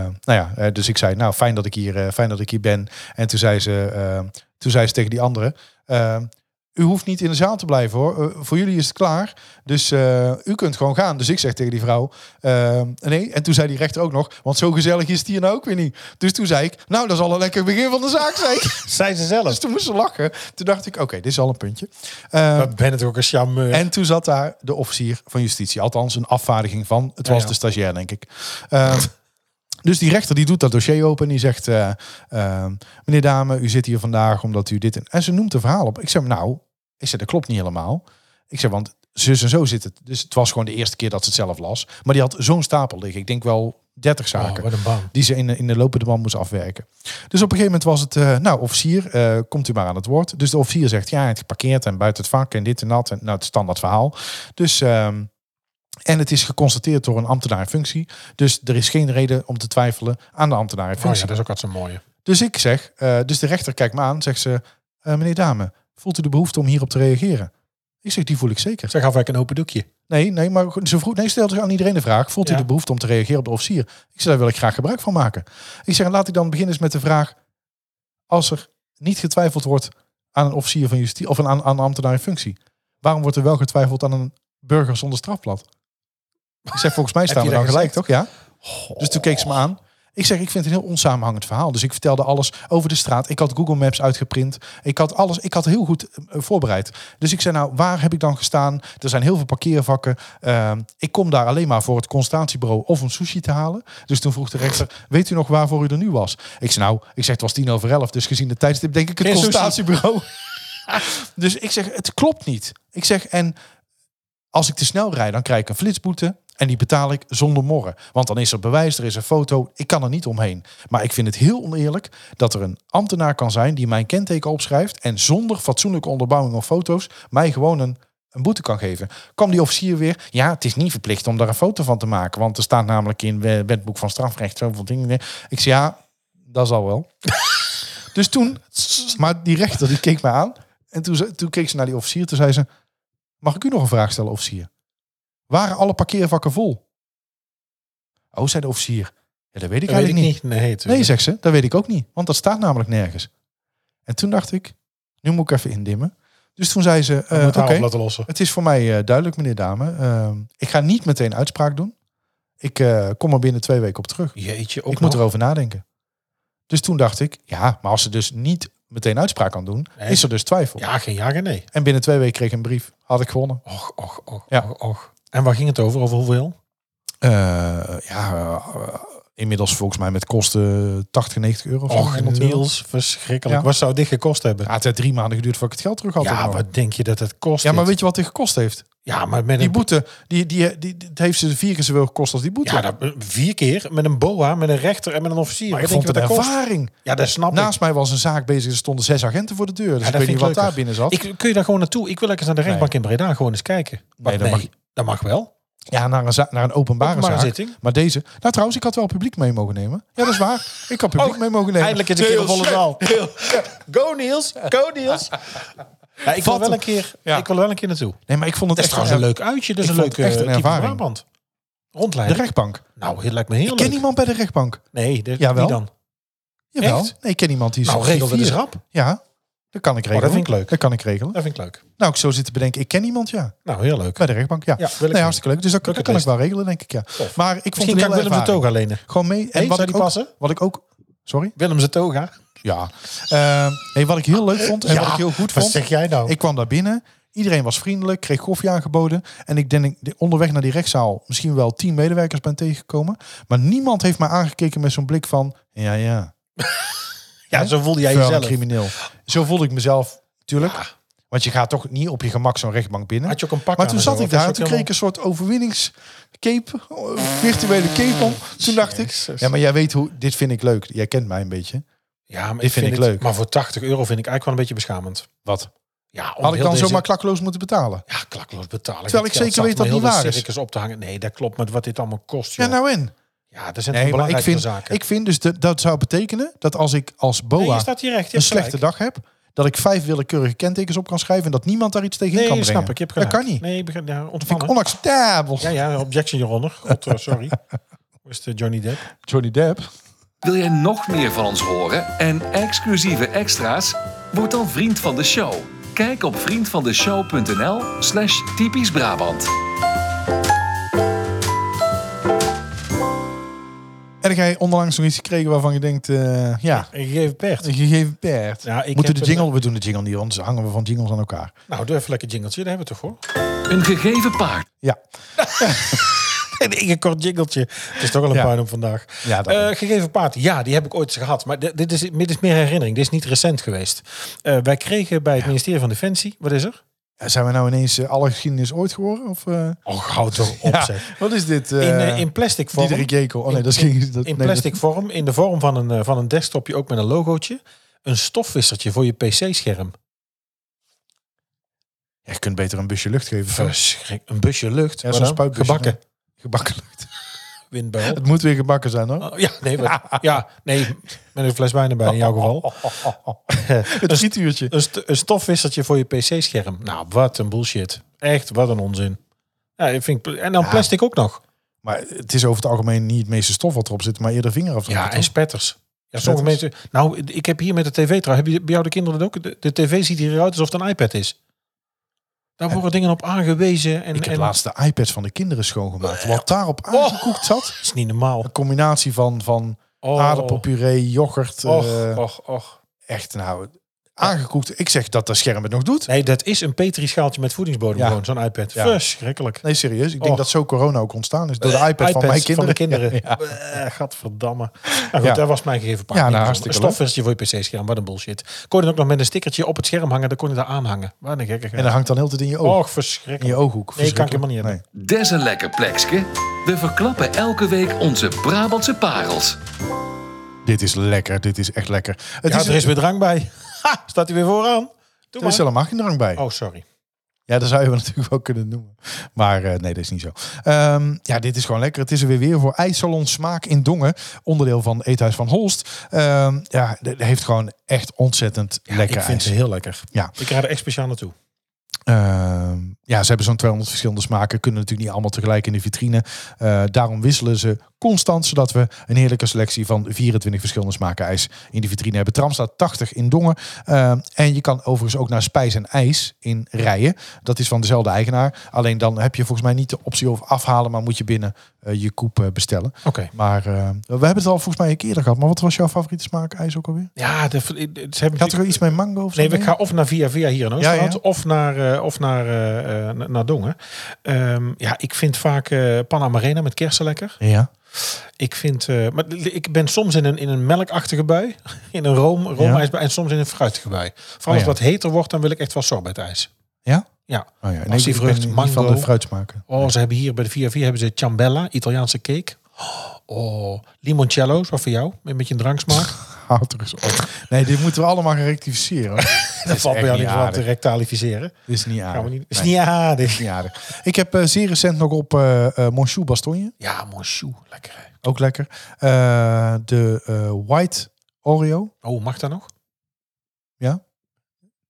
nou ja, eh, dus ik zei, nou fijn dat ik hier, eh, fijn dat ik hier ben. En toen zei ze, eh, toen zei ze tegen die andere, eh, u hoeft niet in de zaal te blijven hoor. Eh, voor jullie is het klaar. Dus eh, u kunt gewoon gaan. Dus ik zeg tegen die vrouw, eh, nee. En toen zei die rechter ook nog, want zo gezellig is het hier nou ook weer niet. Dus toen zei ik, nou dat zal een lekker begin van de zaak zijn.
Zijn ze
dus
zelf.
toen moest ze lachen. Toen dacht ik, oké, dit is al een puntje. Eh,
Wat ben het ook een charmeur.
en toen zat daar de officier van justitie. Althans, een afvaardiging van. Het was
Ja, ja.
de stagiair, denk ik. Ehm, dus die rechter die doet dat dossier open. En die zegt, eh, ehm, meneer dame, u zit hier vandaag omdat u dit... En, en ze noemt een verhaal op. Ik zeg, nou, ik zeg, dat klopt niet helemaal. Ik zeg, want zus en zo zit het. Dus het was gewoon de eerste keer dat ze het zelf las. Maar die had zo'n stapel liggen. Ik denk wel 30
Oh,
zaken
wat een baan.
die ze in, de- in de lopende band moest afwerken. Dus op een gegeven moment was het, eh, nou officier, eh, komt u maar aan het woord. Dus de officier zegt, ja, het geparkeerd en buiten het vak en dit en dat. En, nou, het standaard verhaal. Dus, ehm, en het is geconstateerd door een ambtenaar in functie. Dus er is geen reden om te twijfelen aan de ambtenaar in
Oh ja,
functie.
dat is ook wat zo'n mooie.
Dus ik zeg, eh, dus de rechter kijkt me aan, zegt ze, eh, meneer dame, voelt u de behoefte om hierop te reageren? Ik zeg, die voel ik zeker.
Zeg af, ik een open doekje.
Nee, nee, maar ze vroeg, nee, stelde zich aan iedereen de vraag: voelt u
Ja.
de behoefte om te reageren op de officier? Ik zei, daar wil ik graag gebruik van maken. Ik zeg, laat ik dan beginnen eens met de vraag: als er niet getwijfeld wordt aan een officier van justitie of een, aan, aan een ambtenaar in functie, waarom wordt er wel getwijfeld aan een burger zonder strafblad? Ik zeg, volgens mij staan
Heb
we
je
dan
dat
gelijk, toch? Ja.
Goh.
Dus toen keek ze me aan. Ik zeg, ik vind het een heel onsamenhangend verhaal. Dus ik vertelde alles over de straat. Ik had Google Maps uitgeprint. Ik had alles, ik had heel goed eh, voorbereid. Dus ik zei, nou, waar heb ik dan gestaan? Er zijn heel veel parkeervakken. Ehm, ik kom daar alleen maar voor het constatiebureau of om sushi te halen. Dus toen vroeg de rechter, weet u nog waarvoor u er nu was? Ik zei, nou, ik zeg, het was tien over elf. Dus gezien de tijdstip denk ik het
Geen sushi.
constatiebureau. dus ik zeg, het klopt niet. Ik zeg, en als ik te snel rijd, dan krijg ik een flitsboete. En die betaal ik zonder morren. Want dan is er bewijs, er is een foto. Ik kan er niet omheen. Maar ik vind het heel oneerlijk dat er een ambtenaar kan zijn die mijn kenteken opschrijft. en zonder fatsoenlijke onderbouwing of foto's mij gewoon een, een boete kan geven. Kwam die officier weer. Ja, het is niet verplicht om daar een foto van te maken. Want er staat namelijk in het wetboek van strafrecht zoveel dingen. Ik zei ja, dat zal wel. dus toen, maar die rechter die keek me aan. En toen, ze- toen keek ze naar die officier. Toen zei ze: Mag ik u nog een vraag stellen, officier? Waren alle parkeervakken vol? Oh, zei de officier. Ja,
Dat
dat weet ik
weet ik
eigenlijk
niet.
niet.
Nee, tuurlijk.
Nee, zegt ze, dat weet ik ook niet. Want dat staat namelijk nergens. En toen dacht ik, nu moet ik even indimmen. Dus toen zei ze,
We
eh,
moeten
oké,
haar op laten lossen.
het is voor mij eh, duidelijk, meneer dame. Eh, ik ga niet meteen uitspraak doen. Ik eh, kom er binnen twee weken op terug.
Jeetje, ook
ik
nog.
moet erover nadenken. Dus toen dacht ik, ja, maar als ze dus niet meteen uitspraak kan doen,
Nee.
is er dus twijfel.
Ja, geen ja, geen nee.
En binnen twee weken kreeg ik een brief. Had ik gewonnen.
Och, och, och,
Ja.
och, och. En waar ging het over? Over hoeveel?
Eh, ja, eh, inmiddels volgens mij met kosten 80, 90 euro. of zo,
Och,
100 euro.
Niels, verschrikkelijk.
Ja.
Wat zou dit gekost hebben?
Ja, het heeft drie maanden geduurd voordat ik het geld terug had.
Ja,
Ook nog.
wat denk je dat het kost?
ja maar
dit?
weet je wat dit gekost heeft?
ja, maar met
Die
een
boete, die, die, die, die- het heeft ze vier keer zoveel gekost als die boete.
ja, dat, vier keer met een boa, met een rechter en met een officier.
maar ik
Wat
vond
denk je
het een
wat dat kost?
ervaring.
Ja, dat snap ik.
Naast mij was een zaak bezig, er stonden zes agenten voor de deur. Dus
Ja, dat
ik weet niet
vind
wat
ik
daar
leuker.
binnen zat.
Ik, kun je daar gewoon naartoe? Ik wil lekker eens naar de rechtbank in Breda gewoon eens kijken. Maar
dat mag-
dat mag wel.
ja, naar een, za- naar een openbare
Openbare
zaak.
zitting.
Maar deze... Nou, trouwens, ik had wel publiek mee mogen nemen. Ja, dat is waar. Ik had publiek mee mogen nemen.
Oh, Eindelijk is een keer een volle zaal.
Go, Niels. Go, Niels.
Ja, ik, wil
Vat
wel
hem.
een keer,
Ja.
ik wil wel een keer naartoe.
Nee, maar ik vond het
Dat is
echt
trouwens een leuk uitje. Dat is
ik
een
vond het
leuke
echt een
eh, type
ervaring.
Brabant.
De
Rondleiding.
rechtbank.
nou, het lijkt me heel
Ik
leuk.
ken niemand bij de rechtbank.
Nee, dat,
Jawel.
wie dan?
Jawel.
Echt?
Nee, ik ken iemand die is
Nou,
drie,
regel dit
vier.
eens rap.
Ja, dat kan ik regelen.
Oh, vind ik leuk.
Dat kan ik regelen.
Dat vind ik leuk.
Nou, ik zo zit te bedenken. Ik ken iemand, ja.
Nou, heel leuk.
Bij de rechtbank, ja.
Ja, wil ik
nee,
wel.
hartstikke leuk. Dus dat, dat
Leuke
kan ik
test.
wel regelen, denk ik, ja.
Tof.
Maar ik vond
Misschien
het
kan ik
heel
Willem zijn toga
ervaring.
lenen.
Gewoon mee. En
Nee,
wat,
zou
ik
die
ook,
passen?
wat ik ook... Sorry?
Willem zijn toga.
Ja. Ehm, nee, wat ik heel leuk vond en
Ja,
wat ik heel goed
Wat
vond...
zeg jij nou?
Oh. Ik kwam daar binnen. Iedereen was vriendelijk, kreeg koffie aangeboden. En ik denk de- onderweg naar die rechtszaal misschien wel tien medewerkers ben tegengekomen. Maar niemand heeft mij aangekeken met zo'n blik van... Ja, ja.
ja, zo voelde jij
Jij een
jezelf.
crimineel. Zo voelde ik mezelf, natuurlijk. Want je gaat toch niet op je gemak zo'n rechtbank binnen.
Had je ook een pak
Maar
aan
toen
en zo,
zat ik
of was
daar en
het
toen kreeg
helemaal-
ik een soort overwinningscape, eh, virtuele cape om. Toen dacht ik,
Jezus.
ja, maar jij weet hoe, dit vind ik leuk. Jij kent mij een beetje.
Ja, maar
Dit
ik
vind
vind,
ik
het-
leuk.
Maar voor 80 euro vind ik eigenlijk wel een beetje beschamend.
Wat?
Ja, om
Had ik
heel
dan
deze-
zomaar klakkeloos moeten betalen?
Ja, klakkeloos betalen.
Terwijl ik
Het geld
zeker weet
zat
dat
om
niet
heel de
waar is.
circus op te hangen. Nee, dat klopt. Maar wat dit allemaal kost,
Ja,
joh.
nou en?
Ja, er zijn toch
Nee, maar ik
belangrijke
vind,
zaken.
ik vind dus, de- dat zou betekenen dat als ik als
nee,
BOA
je staat hier recht. Je
een
hebt
slechte
gelijk.
dag heb, dat ik vijf willekeurige kentekens op kan schrijven en dat niemand daar iets tegen in
Nee,
kan
snap
brengen.
ik. Je hebt
dat
gelijk.
kan niet.
Nee, ik begrijp- ja,
Dat vind ik
ontvangen.
onacceptabel.
Ja, ja, objection hieronder. God, eh, sorry. Hoe is de Johnny Depp?
Johnny Depp.
Wil jij nog meer van ons horen en exclusieve extra's? Word dan vriend van de show. Kijk op vriendvandeshow.nl slash typisch Brabant.
En dan ga je onderlangs nog iets gekregen waarvan je denkt, eh, ja,
Ik geef Bert.
een gegeven paard.
Ja, ik
Moeten de
heb eh,
jingle, we doen de jingle niet, anders hangen we van jingles aan elkaar.
Nou, doe even lekker jingeltje. Daar hebben we het toch hoor.
Een gegeven paard.
Ja,
En een kort jingeltje. Het is toch al een
Ja.
puin om vandaag.
Ja, daarom.
Eh, gegeven paard, ja, die heb ik ooit eens gehad. Maar dit dit is, dit is meer herinnering. Dit is niet recent geweest. Eh, wij kregen bij het ministerie van Defensie... Wat is er?
zijn we nou ineens eh, alle geschiedenis ooit geworden? Of, eh,
Och, houd toch op
ja,
zeg.
Wat is dit?
In,
eh
eh, in plastic vorm.
Diederik Jekel. Oh nee,
in-
dat is geen... dat-
in
nee, dat-
plastic vorm. In de vorm van een, eh, van een desktopje, ook met een logootje. Een stofwissertje voor je pc-scherm.
Ja, je kunt beter een busje lucht geven. toch?
Verschrik. Een busje lucht.
Ja,
Wat
zo'n
dan?
spuitbusje.
Gebakken.
Gebakken lucht.
Windbel.
Het moet weer gebakken zijn hoor.
Oh, ja, nee, wat- ja, nee, met een fles wijn erbij in jouw geval.
Het frietuurtje.
Een, st- een stofwisseltje voor je pc-scherm. Nou, wat een bullshit. Echt, wat een onzin. Ja, ik vind, en dan plastic ook nog.
Maar het is over het algemeen niet het meeste stof wat erop zit, maar eerder vingerafdrukken.
Ja, en
toch?
spetters. Ja, sommige mensen. Nou, ik heb hier met de tv trouwens. Heb je bij jou de kinderen dat ook? De, de tv ziet er eruit alsof het een iPad is. Daar worden dingen op aangewezen. En,
ik heb
en, Oh.
laatst de iPads van de kinderen schoongemaakt. Wat daarop aangekoekt zat.
Dat is niet normaal.
Een combinatie van, van
Oh,
aardappelpuree, yoghurt.
Och,
eh,
och, och.
echt, nou, aangekoekt. Ik zeg dat dat scherm het nog doet.
Nee, dat is een petrischaaltje met voedingsbodem
Ja.
gewoon, zo'n iPad.
Ja.
Verschrikkelijk.
Nee, serieus. Ik denk
Och.
dat zo corona ook ontstaan is. Door de iPad van mijn kinderen.
Eh, de kinderen.
Ja,
Eh, gadverdamme. Nou goed,
Ja.
dat was mijn gegeven paard.
Ja, nou,
Een
hartstikke leuk.
Stofversje voor je pc-scherm, wat een bullshit. Kon je het ook nog met een stickertje op het scherm hangen, dan kon je daar aanhangen. Wat een gekke
En dat hangt dan heel de tijd in je oog.
Och,
in
verschrikkelijk.
je ooghoek.
Oh. Nee, kan ik helemaal niet
Verschrikkelijk.
hebben.
Des een lekker plekske. We verklappen elke week onze Brabantse parels.
Nee. Dit is lekker. Dit is echt lekker. Het
Ja,
is,
er is weer drank bij. Ha, staat hij weer vooraan. Doe
er is
maar.
helemaal geen drang bij.
Oh, sorry.
Ja, dat zou je wel natuurlijk wel kunnen noemen. Maar eh, nee, dat is niet zo. Ehm, ja, dit is gewoon lekker. Het is er weer weer voor IJssalon Smaak in Dongen. Onderdeel van Eethuis van Holst. Ehm, ja, dat heeft gewoon echt ontzettend lekker
ik vind
ijs.
ze heel lekker.
Ja.
Ik ga er echt speciaal naartoe.
Ehm, ja, ze hebben zo'n 200 verschillende smaken. Kunnen natuurlijk niet allemaal tegelijk in de vitrine. Eh, daarom wisselen ze constant, zodat we een heerlijke selectie van 24 verschillende smaken ijs in de vitrine hebben. Tram staat 80 in Dongen. Ehm, en je kan overigens ook naar Spijs en IJs in Rijen. Dat is van dezelfde eigenaar. Alleen dan heb je volgens mij niet de optie of afhalen, maar moet je binnen eh, je koep eh, bestellen.
Oké.
Maar eh, we hebben het al volgens mij een keer eerder gehad. Maar wat was jouw favoriete smaak ijs ook alweer?
Ja, de, ze hebben
Je had er iets met mango of zo?
Nee, ik
mee?
ga of naar Via Via hier in Oosterhout,
Ja, ja.
of naar, eh, of naar, eh, eh, naar Dongen. Ehm, ja, ik vind vaak eh Panamarena met kersen lekker.
Ja.
Ik vind, eh, maar l- ik ben soms in een, in een melkachtige bui, in een room, roomijsbui en soms in een fruitige bui. Vooral als
Oh ja.
het wat heter wordt, dan wil ik echt wel sorbetijs.
Ja?
Ja.
Oh ja, nee,
Passie
ik ben
vrucht,
niet van de
mango.
fruitsmaken.
Oh, ze hebben hier bij de Via Via hebben ze ciambella, Italiaanse cake. Oh, limoncello, zo voor jou, met een beetje een dranksmaak.
Houd er eens op. Nee, dit moeten we allemaal gaan rectificeren.
Dat valt bij jou niet van te rectalificeren.
Dit is niet
Gaan we
aardig.
niet, is
Nee,
niet aardig.
niet aardig. Ik heb eh, zeer recent nog op eh eh Monchou Bastogne.
Ja, monsieur, lekker. hè.
Ook lekker. Eh, de eh, White Oreo.
Oh, mag dat nog?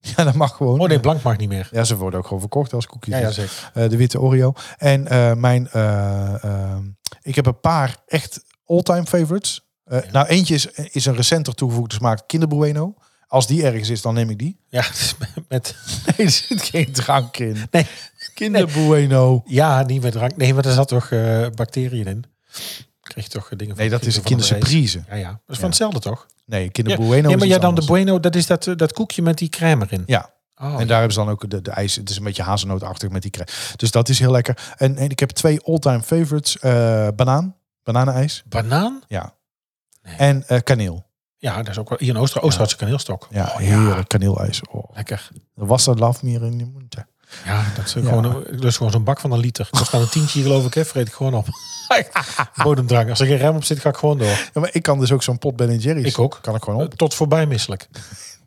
Ja, dat mag gewoon.
Oh nee, blank mag niet meer.
Ja, ze worden ook gewoon verkocht als koekjes.
Ja, ja zeker.
Eh, de witte Oreo. En eh, mijn... eh, eh, ik heb een paar echt all-time favorites. Eh, Nou, eentje is, is een recenter toegevoegde smaak. Kinder Bueno. Als die ergens is, dan neem ik die.
Ja, dus met,
Nee, er zit geen drank in.
Nee.
Kinder Bueno.
ja, niet met drank. Nee, maar er zat toch eh, bacteriën in. Kreeg je toch eh, dingen van.
Nee, dat is een
van de race.
kindersurprise.
Ja, ja. Dat is van
Ja.
hetzelfde toch?
Nee,
Ja.
Kinder Bueno
nee, maar
is
ja,
iets
dan de
anders.
bueno, dat is dat, eh, dat koekje met die crème erin.
Ja.
Oh,
En daar hebben ze dan ook de, de ijs. Het is een beetje hazelnootachtig met die crème. Dus dat is heel lekker. En, en ik heb twee all-time favorites. eh, banaan. Bananenijs.
banaan?
Ja.
Nee.
En eh, kaneel.
Ja, dat is ook wel. Hier in Ooster, Oosterhoutse kaneelstok.
Ja,
Oh,
heerlijk kaneelijs. Oh.
Lekker.
Er was dat laf meer in de mond.
Ja, dat is,
Ja.
Gewoon, een- dat is gewoon zo'n bak van een liter. Dat staat een tientje, geloof ik, hè? Vreet ik gewoon op. Bodemdrang. Als er geen rem op zit, ga ik gewoon door.
Ja, maar ik kan dus ook zo'n pot Ben Jerry's.
Ik ook.
Kan ik gewoon op.
Tot voorbij misselijk.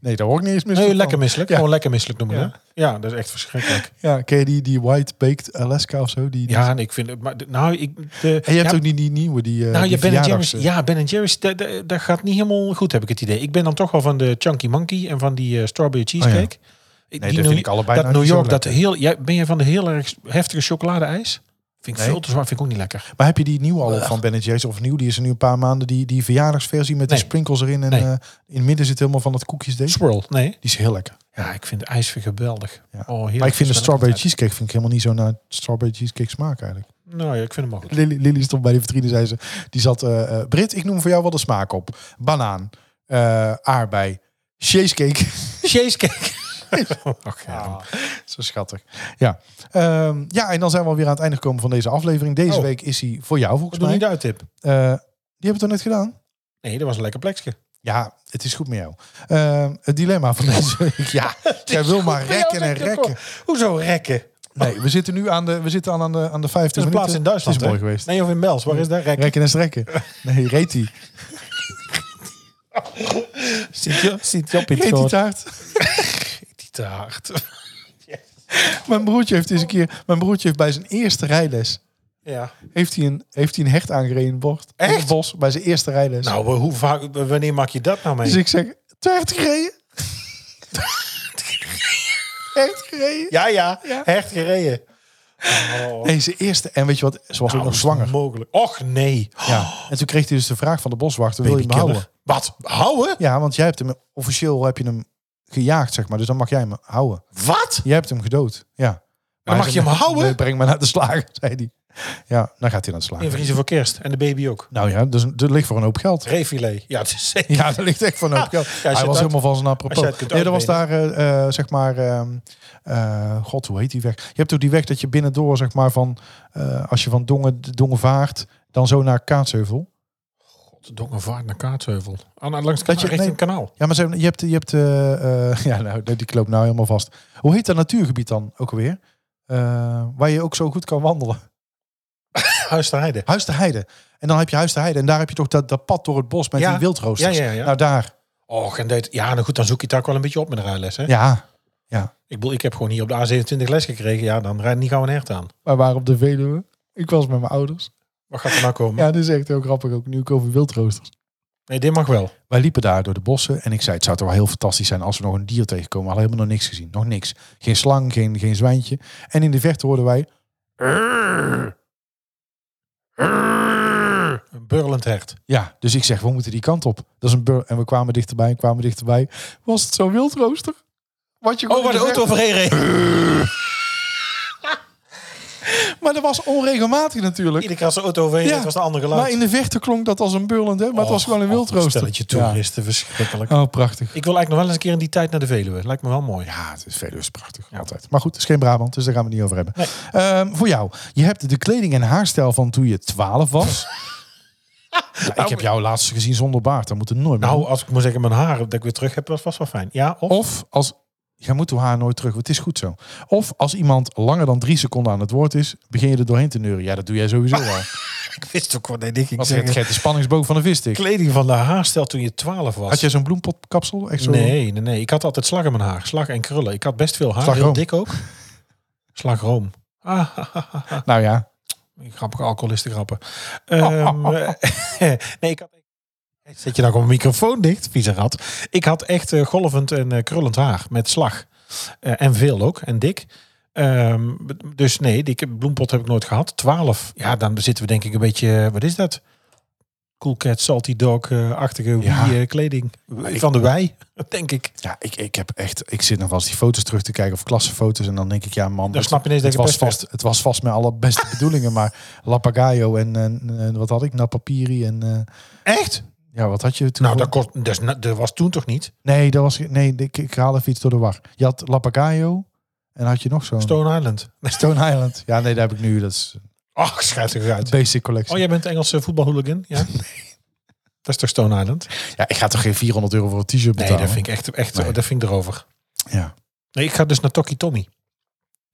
Nee, daar hoor ik niet eens mis.
Nee,
van.
lekker misselijk.
Ja.
Gewoon lekker misselijk noemen.
Ja.
Ja. ja, dat is echt verschrikkelijk.
Ja, ken je die, die White Baked Alaska of zo? Die,
Ja, en ik vind het. Maar de- nou, ik. De,
En je hebt
ja,
ook die, die nieuwe, die eh,
nou,
die
je Ben Jerry's.
verjaardags-
Ja, Ben Jerry's. Dat, dat, dat gaat niet helemaal goed, heb ik het idee. Ik ben dan toch wel van de Chunky Monkey en van die eh, Strawberry Cheesecake. Nee,
Oh, dat vind ik allebei
Dat
nou
New
niet zo
York, dat
lekker.
heel. Jij, ben je van de heel erg heftige chocoladeijs? Vind ik
Nee.
veel te zwaar. Vind ik ook niet lekker.
Maar heb je die nieuwe al van Ben Jerry's of nieuw? Die is er nu een paar maanden. Die, die verjaardagsversie met die
Nee.
sprinkles erin. En
Nee.
eh, in het midden zit helemaal van dat koekjesdeeg.
Swirl. Nee.
Die is heel lekker.
Ja, ik vind de ijs weer geweldig.
Ja.
Oh, heerlijk.
maar ik
Dus
vind de
ben
strawberry
altijd-
cheesecake vind ik helemaal niet zo naar strawberry cheesecake smaak eigenlijk.
Nou ja, ik vind hem ook goed.
Lily, Lily stond bij de vitrine, zei ze. Die zat, eh, eh, Brit, ik noem voor jou wel de smaak op. Banaan, eh, aardbei, cheesecake.
Cheesecake. Ach, ja.
Ja, zo schattig. Ja. Ehm, ja, en dan zijn we alweer aan het einde gekomen van deze aflevering. Deze
Oh.
week is hij voor jou volgens
Wat doe
mij.
je
Eh
de uittip?
die hebben we toch net gedaan?
Nee, dat was een lekker plekje.
Ja, het is goed met jou. Ehm, het dilemma van deze week. Ja, jij wil maar rekken en rekken.
Hoezo rekken?
Nee, we zitten nu aan de, we zitten aan, aan de, aan de 50
Het is een plaats
minuten.
in Duitsland.
Het is mooi
hè?
geweest.
Nee, of in Bels. Waar is dat? Rek.
Rekken en strekken. Nee, reet die.
Ziet je, ziet je op in
Reet die taart.
die te hard.
Mijn broertje heeft deze keer, mijn broertje heeft bij zijn eerste rijles,
Ja.
heeft hij een, heeft hij een hecht aangereden in het bos. In het
Echt?
bos, bij zijn eerste rijles.
Nou, hoe vaak, wanneer maak je dat nou mee?
Dus ik zeg, hecht gereden? Hecht gereden?
Ja, ja,
Ja.
Hecht gereden. Oh, Nou,
Nee, zijn eerste. En weet je wat, ze was ook nog zwanger.
Mogelijk. Och nee.
Ja. En toen kreeg hij dus de vraag van de boswachter, wil je hem
Babykiller.
houden?
Wat? Houden?
Ja, want jij hebt hem officieel heb je hem gejaagd, zeg maar. Dus dan mag jij hem houden.
Wat?
Jij hebt hem gedood. Ja. Maar
mag
hij
je
zei,
hem houden?
"Nee, breng me naar de slager, zei hij. Ja, dan gaat hij aan het slaan.
Invriezen voor kerst. En de baby ook.
Nou ja, dus er ligt voor een hoop geld.
Reefilet. Ja, het is zeker.
Ja, dat ligt echt van op.
Ja, als je
hij was
het uit-
helemaal van zijn apropos.
als je het kunt
Nee, er was daar,
uitbenen.
eh, eh, zeg maar, ehm, eh, god, hoe heet die weg? Je hebt ook die weg dat je binnendoor, zeg maar, van, eh, als je van Dongen, Dongen vaart, dan zo naar Kaatsheuvel.
Dongenvaart naar Kaatsheuvel. Aan, aan langs
Dat je-
richting
nee.
het kanaal.
Ja, maar ze hebben- je hebt, je hebt eh, eh, ja, nou, die loopt nou helemaal vast. Hoe heet dat natuurgebied dan ook alweer? Eh, waar je ook zo goed kan wandelen.
Huis te Heide.
Huis de Heide. En dan heb je Huis de Heide. En daar heb je toch dat, dat pad door het bos met
Ja.
die wildroosters.
Ja, ja, ja.
Nou, daar.
Och, en dit, ja, nou goed, dan zoek je het ook wel een beetje op met een rijles. Hè?
Ja.
Ik bedoel, ik heb gewoon hier op de A27 les gekregen. Ja, dan rijdt niet gauw een hert aan.
Maar waar op de Veluwe? Ik was met mijn ouders.
Wat gaat er nou komen?
Ja, dit is echt heel grappig ook. Nu ik over wildroosters.
Nee, dit mag wel.
Wij liepen daar door de bossen en ik zei, het zou toch wel heel fantastisch zijn als we nog een dier tegenkomen. We hadden helemaal nog niks gezien. Nog niks. Geen slang, geen, geen zwijntje. En in de verte hoorden wij,
Een burlend hert.
ja, dus ik zeg, we moeten die kant op. Dat is een bur en we kwamen dichterbij en kwamen dichterbij. Was het zo'n wildrooster? Wat je
Oh,
gewoon
waar de
in
auto
verte-
overheen reed.
Maar dat was onregelmatig natuurlijk.
Iedere keer als de auto overheen reed,
Ja,
was een ander geluid.
Maar in de verte klonk dat als een burlend, hè? maar het was gewoon een wildrooster.
Stelletje toeristen, verschrikkelijk.
Ja. Oh, prachtig.
Ik wil eigenlijk nog wel eens een keer in die tijd naar de Veluwe. Lijkt me wel mooi.
Ja, het is Veluwe is prachtig. Altijd. Maar goed, het is geen Brabant, dus daar gaan we het niet over hebben. Ehm, voor jou. Je hebt de kleding en haarstijl van toen je 12 was. Ja, ik heb jou laatst gezien zonder baard. Dat moet er nooit meer.
Nou, als ik moet zeggen, mijn haar dat ik weer terug heb, was vast wel fijn. Ja, of?
Of als... Jij moet uw haar nooit terug, want het is goed zo. Of als iemand langer dan drie seconden aan het woord is, begin je er doorheen te neuren. Ja, dat doe jij sowieso wel.
Ik wist ook wat nee, ik
Want het geeft de spanningsboog van de vistik.
Kleding van de haarstel toen je 12 was.
Had jij zo'n bloempotkapsel? Echt zo?
Nee, nee, nee. Ik had altijd slag in mijn haar. Slag en krullen. Ik had best veel haar.
Slagroom.
Heel dik ook. Slagroom. Ah, ha, ha, ha, ha.
Nou ja.
grappige alcoholisten grappen. Ehm, eh, nee, ik had... Zet je nou gewoon een microfoon dicht, vieze rat. Ik had echt eh, golvend en eh, krullend haar met slag. Eh, en veel ook, en dik. Ehm, dus nee, die bloempot heb ik nooit gehad. 12. Ja, dan zitten we denk ik een beetje... eh, Wat is dat? Cool Cat, Salty eh, Dog-achtige
Ja. eh,
kleding. Van de wei, denk ik.
Ja, ik, ik heb echt. Ik zit nog wel eens die foto's terug te kijken of klassenfoto's. En dan denk ik, ja, man.
Dan
het-
snap je ineens dat
het
je
was
best
vast, Het was vast met alle beste bedoelingen. Maar Lapagayo en, en, en wat had ik? Napapiri en. eh,
Echt?
ja, wat had je toen?
Nou,
voor-
dat, kost, dat, is na- dat was toen toch niet?
Nee, dat was, nee ik, ik haal even iets door de war. Je had Lapagayo en had je nog zo'n.
Stone Island.
Stone Island. Ja, nee, daar heb ik nu. Dat is
Ach, schijt er uit.
een basic collectie.
Oh, jij bent Engelse voetbalhooligan? Ja. Dat is toch Stone Island? Nee,
ja. ik ga toch geen 400 euro voor een t-shirt betalen?
dat vind ik echt, echt
Nee.
dat vind ik erover.
Ja.
Nee, ik ga dus naar Toki Tommy.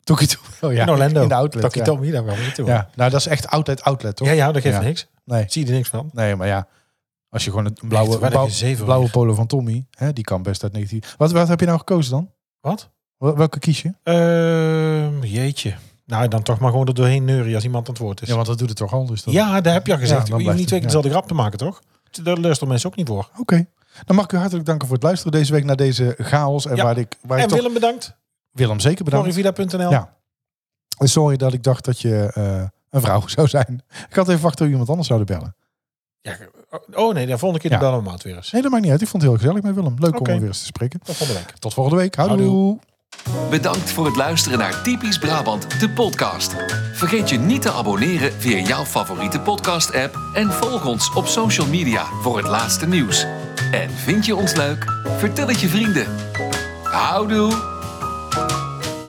Toki toe. Oh ja.
in Orlando.
In de outlet.
Toki
ja.
Tommy, daar gaan we naartoe.
Ja, nou, dat is echt outlet, outlet, toch?
ja, ja, dat geeft
Ja.
niks.
Nee.
Zie je er niks van.
Nee, maar ja. Als je gewoon een blauwe,
waar heb
blauw-
je zeven
blauwe
weer?
polo van Tommy, hè, die kan best uit 19. Wat, wat heb je nou gekozen dan?
Wat?
Wel- Welke kies je?
Ehm, jeetje. Nou, dan toch maar gewoon er doorheen neuren als iemand aan het woord is. Ja,
Ja, want dat doet het toch al. Dus dan-
daar heb je al
Ja,
gezegd.
dan
je hoeft
blijft
niet
het,
twee keer dezelfde grap te maken, toch? Daar luisteren mensen ook niet voor.
Oké. Dan mag ik u hartelijk danken voor het luisteren deze week naar deze chaos. En
Ja.
waar ik, waar ik
En
toch,
Willem bedankt.
Willem zeker bedankt.
Corrivida.nl.
Ja. Sorry dat ik dacht dat je eh, een vrouw zou zijn. Ik had even wachten hoe iemand anders zouden bellen.
Ja, oh nee, de volgende keer
Ja.
ja. bellen we hem uit weer eens.
Nee, dat maakt niet uit. Ik vond het heel gezellig met Willem. Leuk
Oké.
om weer eens te spreken.
Tot volgende week.
Tot volgende week. Houdoe.
Houdoe.
Bedankt voor het luisteren naar Typisch Brabant, de podcast. Vergeet je niet te abonneren via jouw favoriete podcast-app en volg ons op social media voor het laatste nieuws. En vind je ons leuk? Vertel het je vrienden. Houdoe!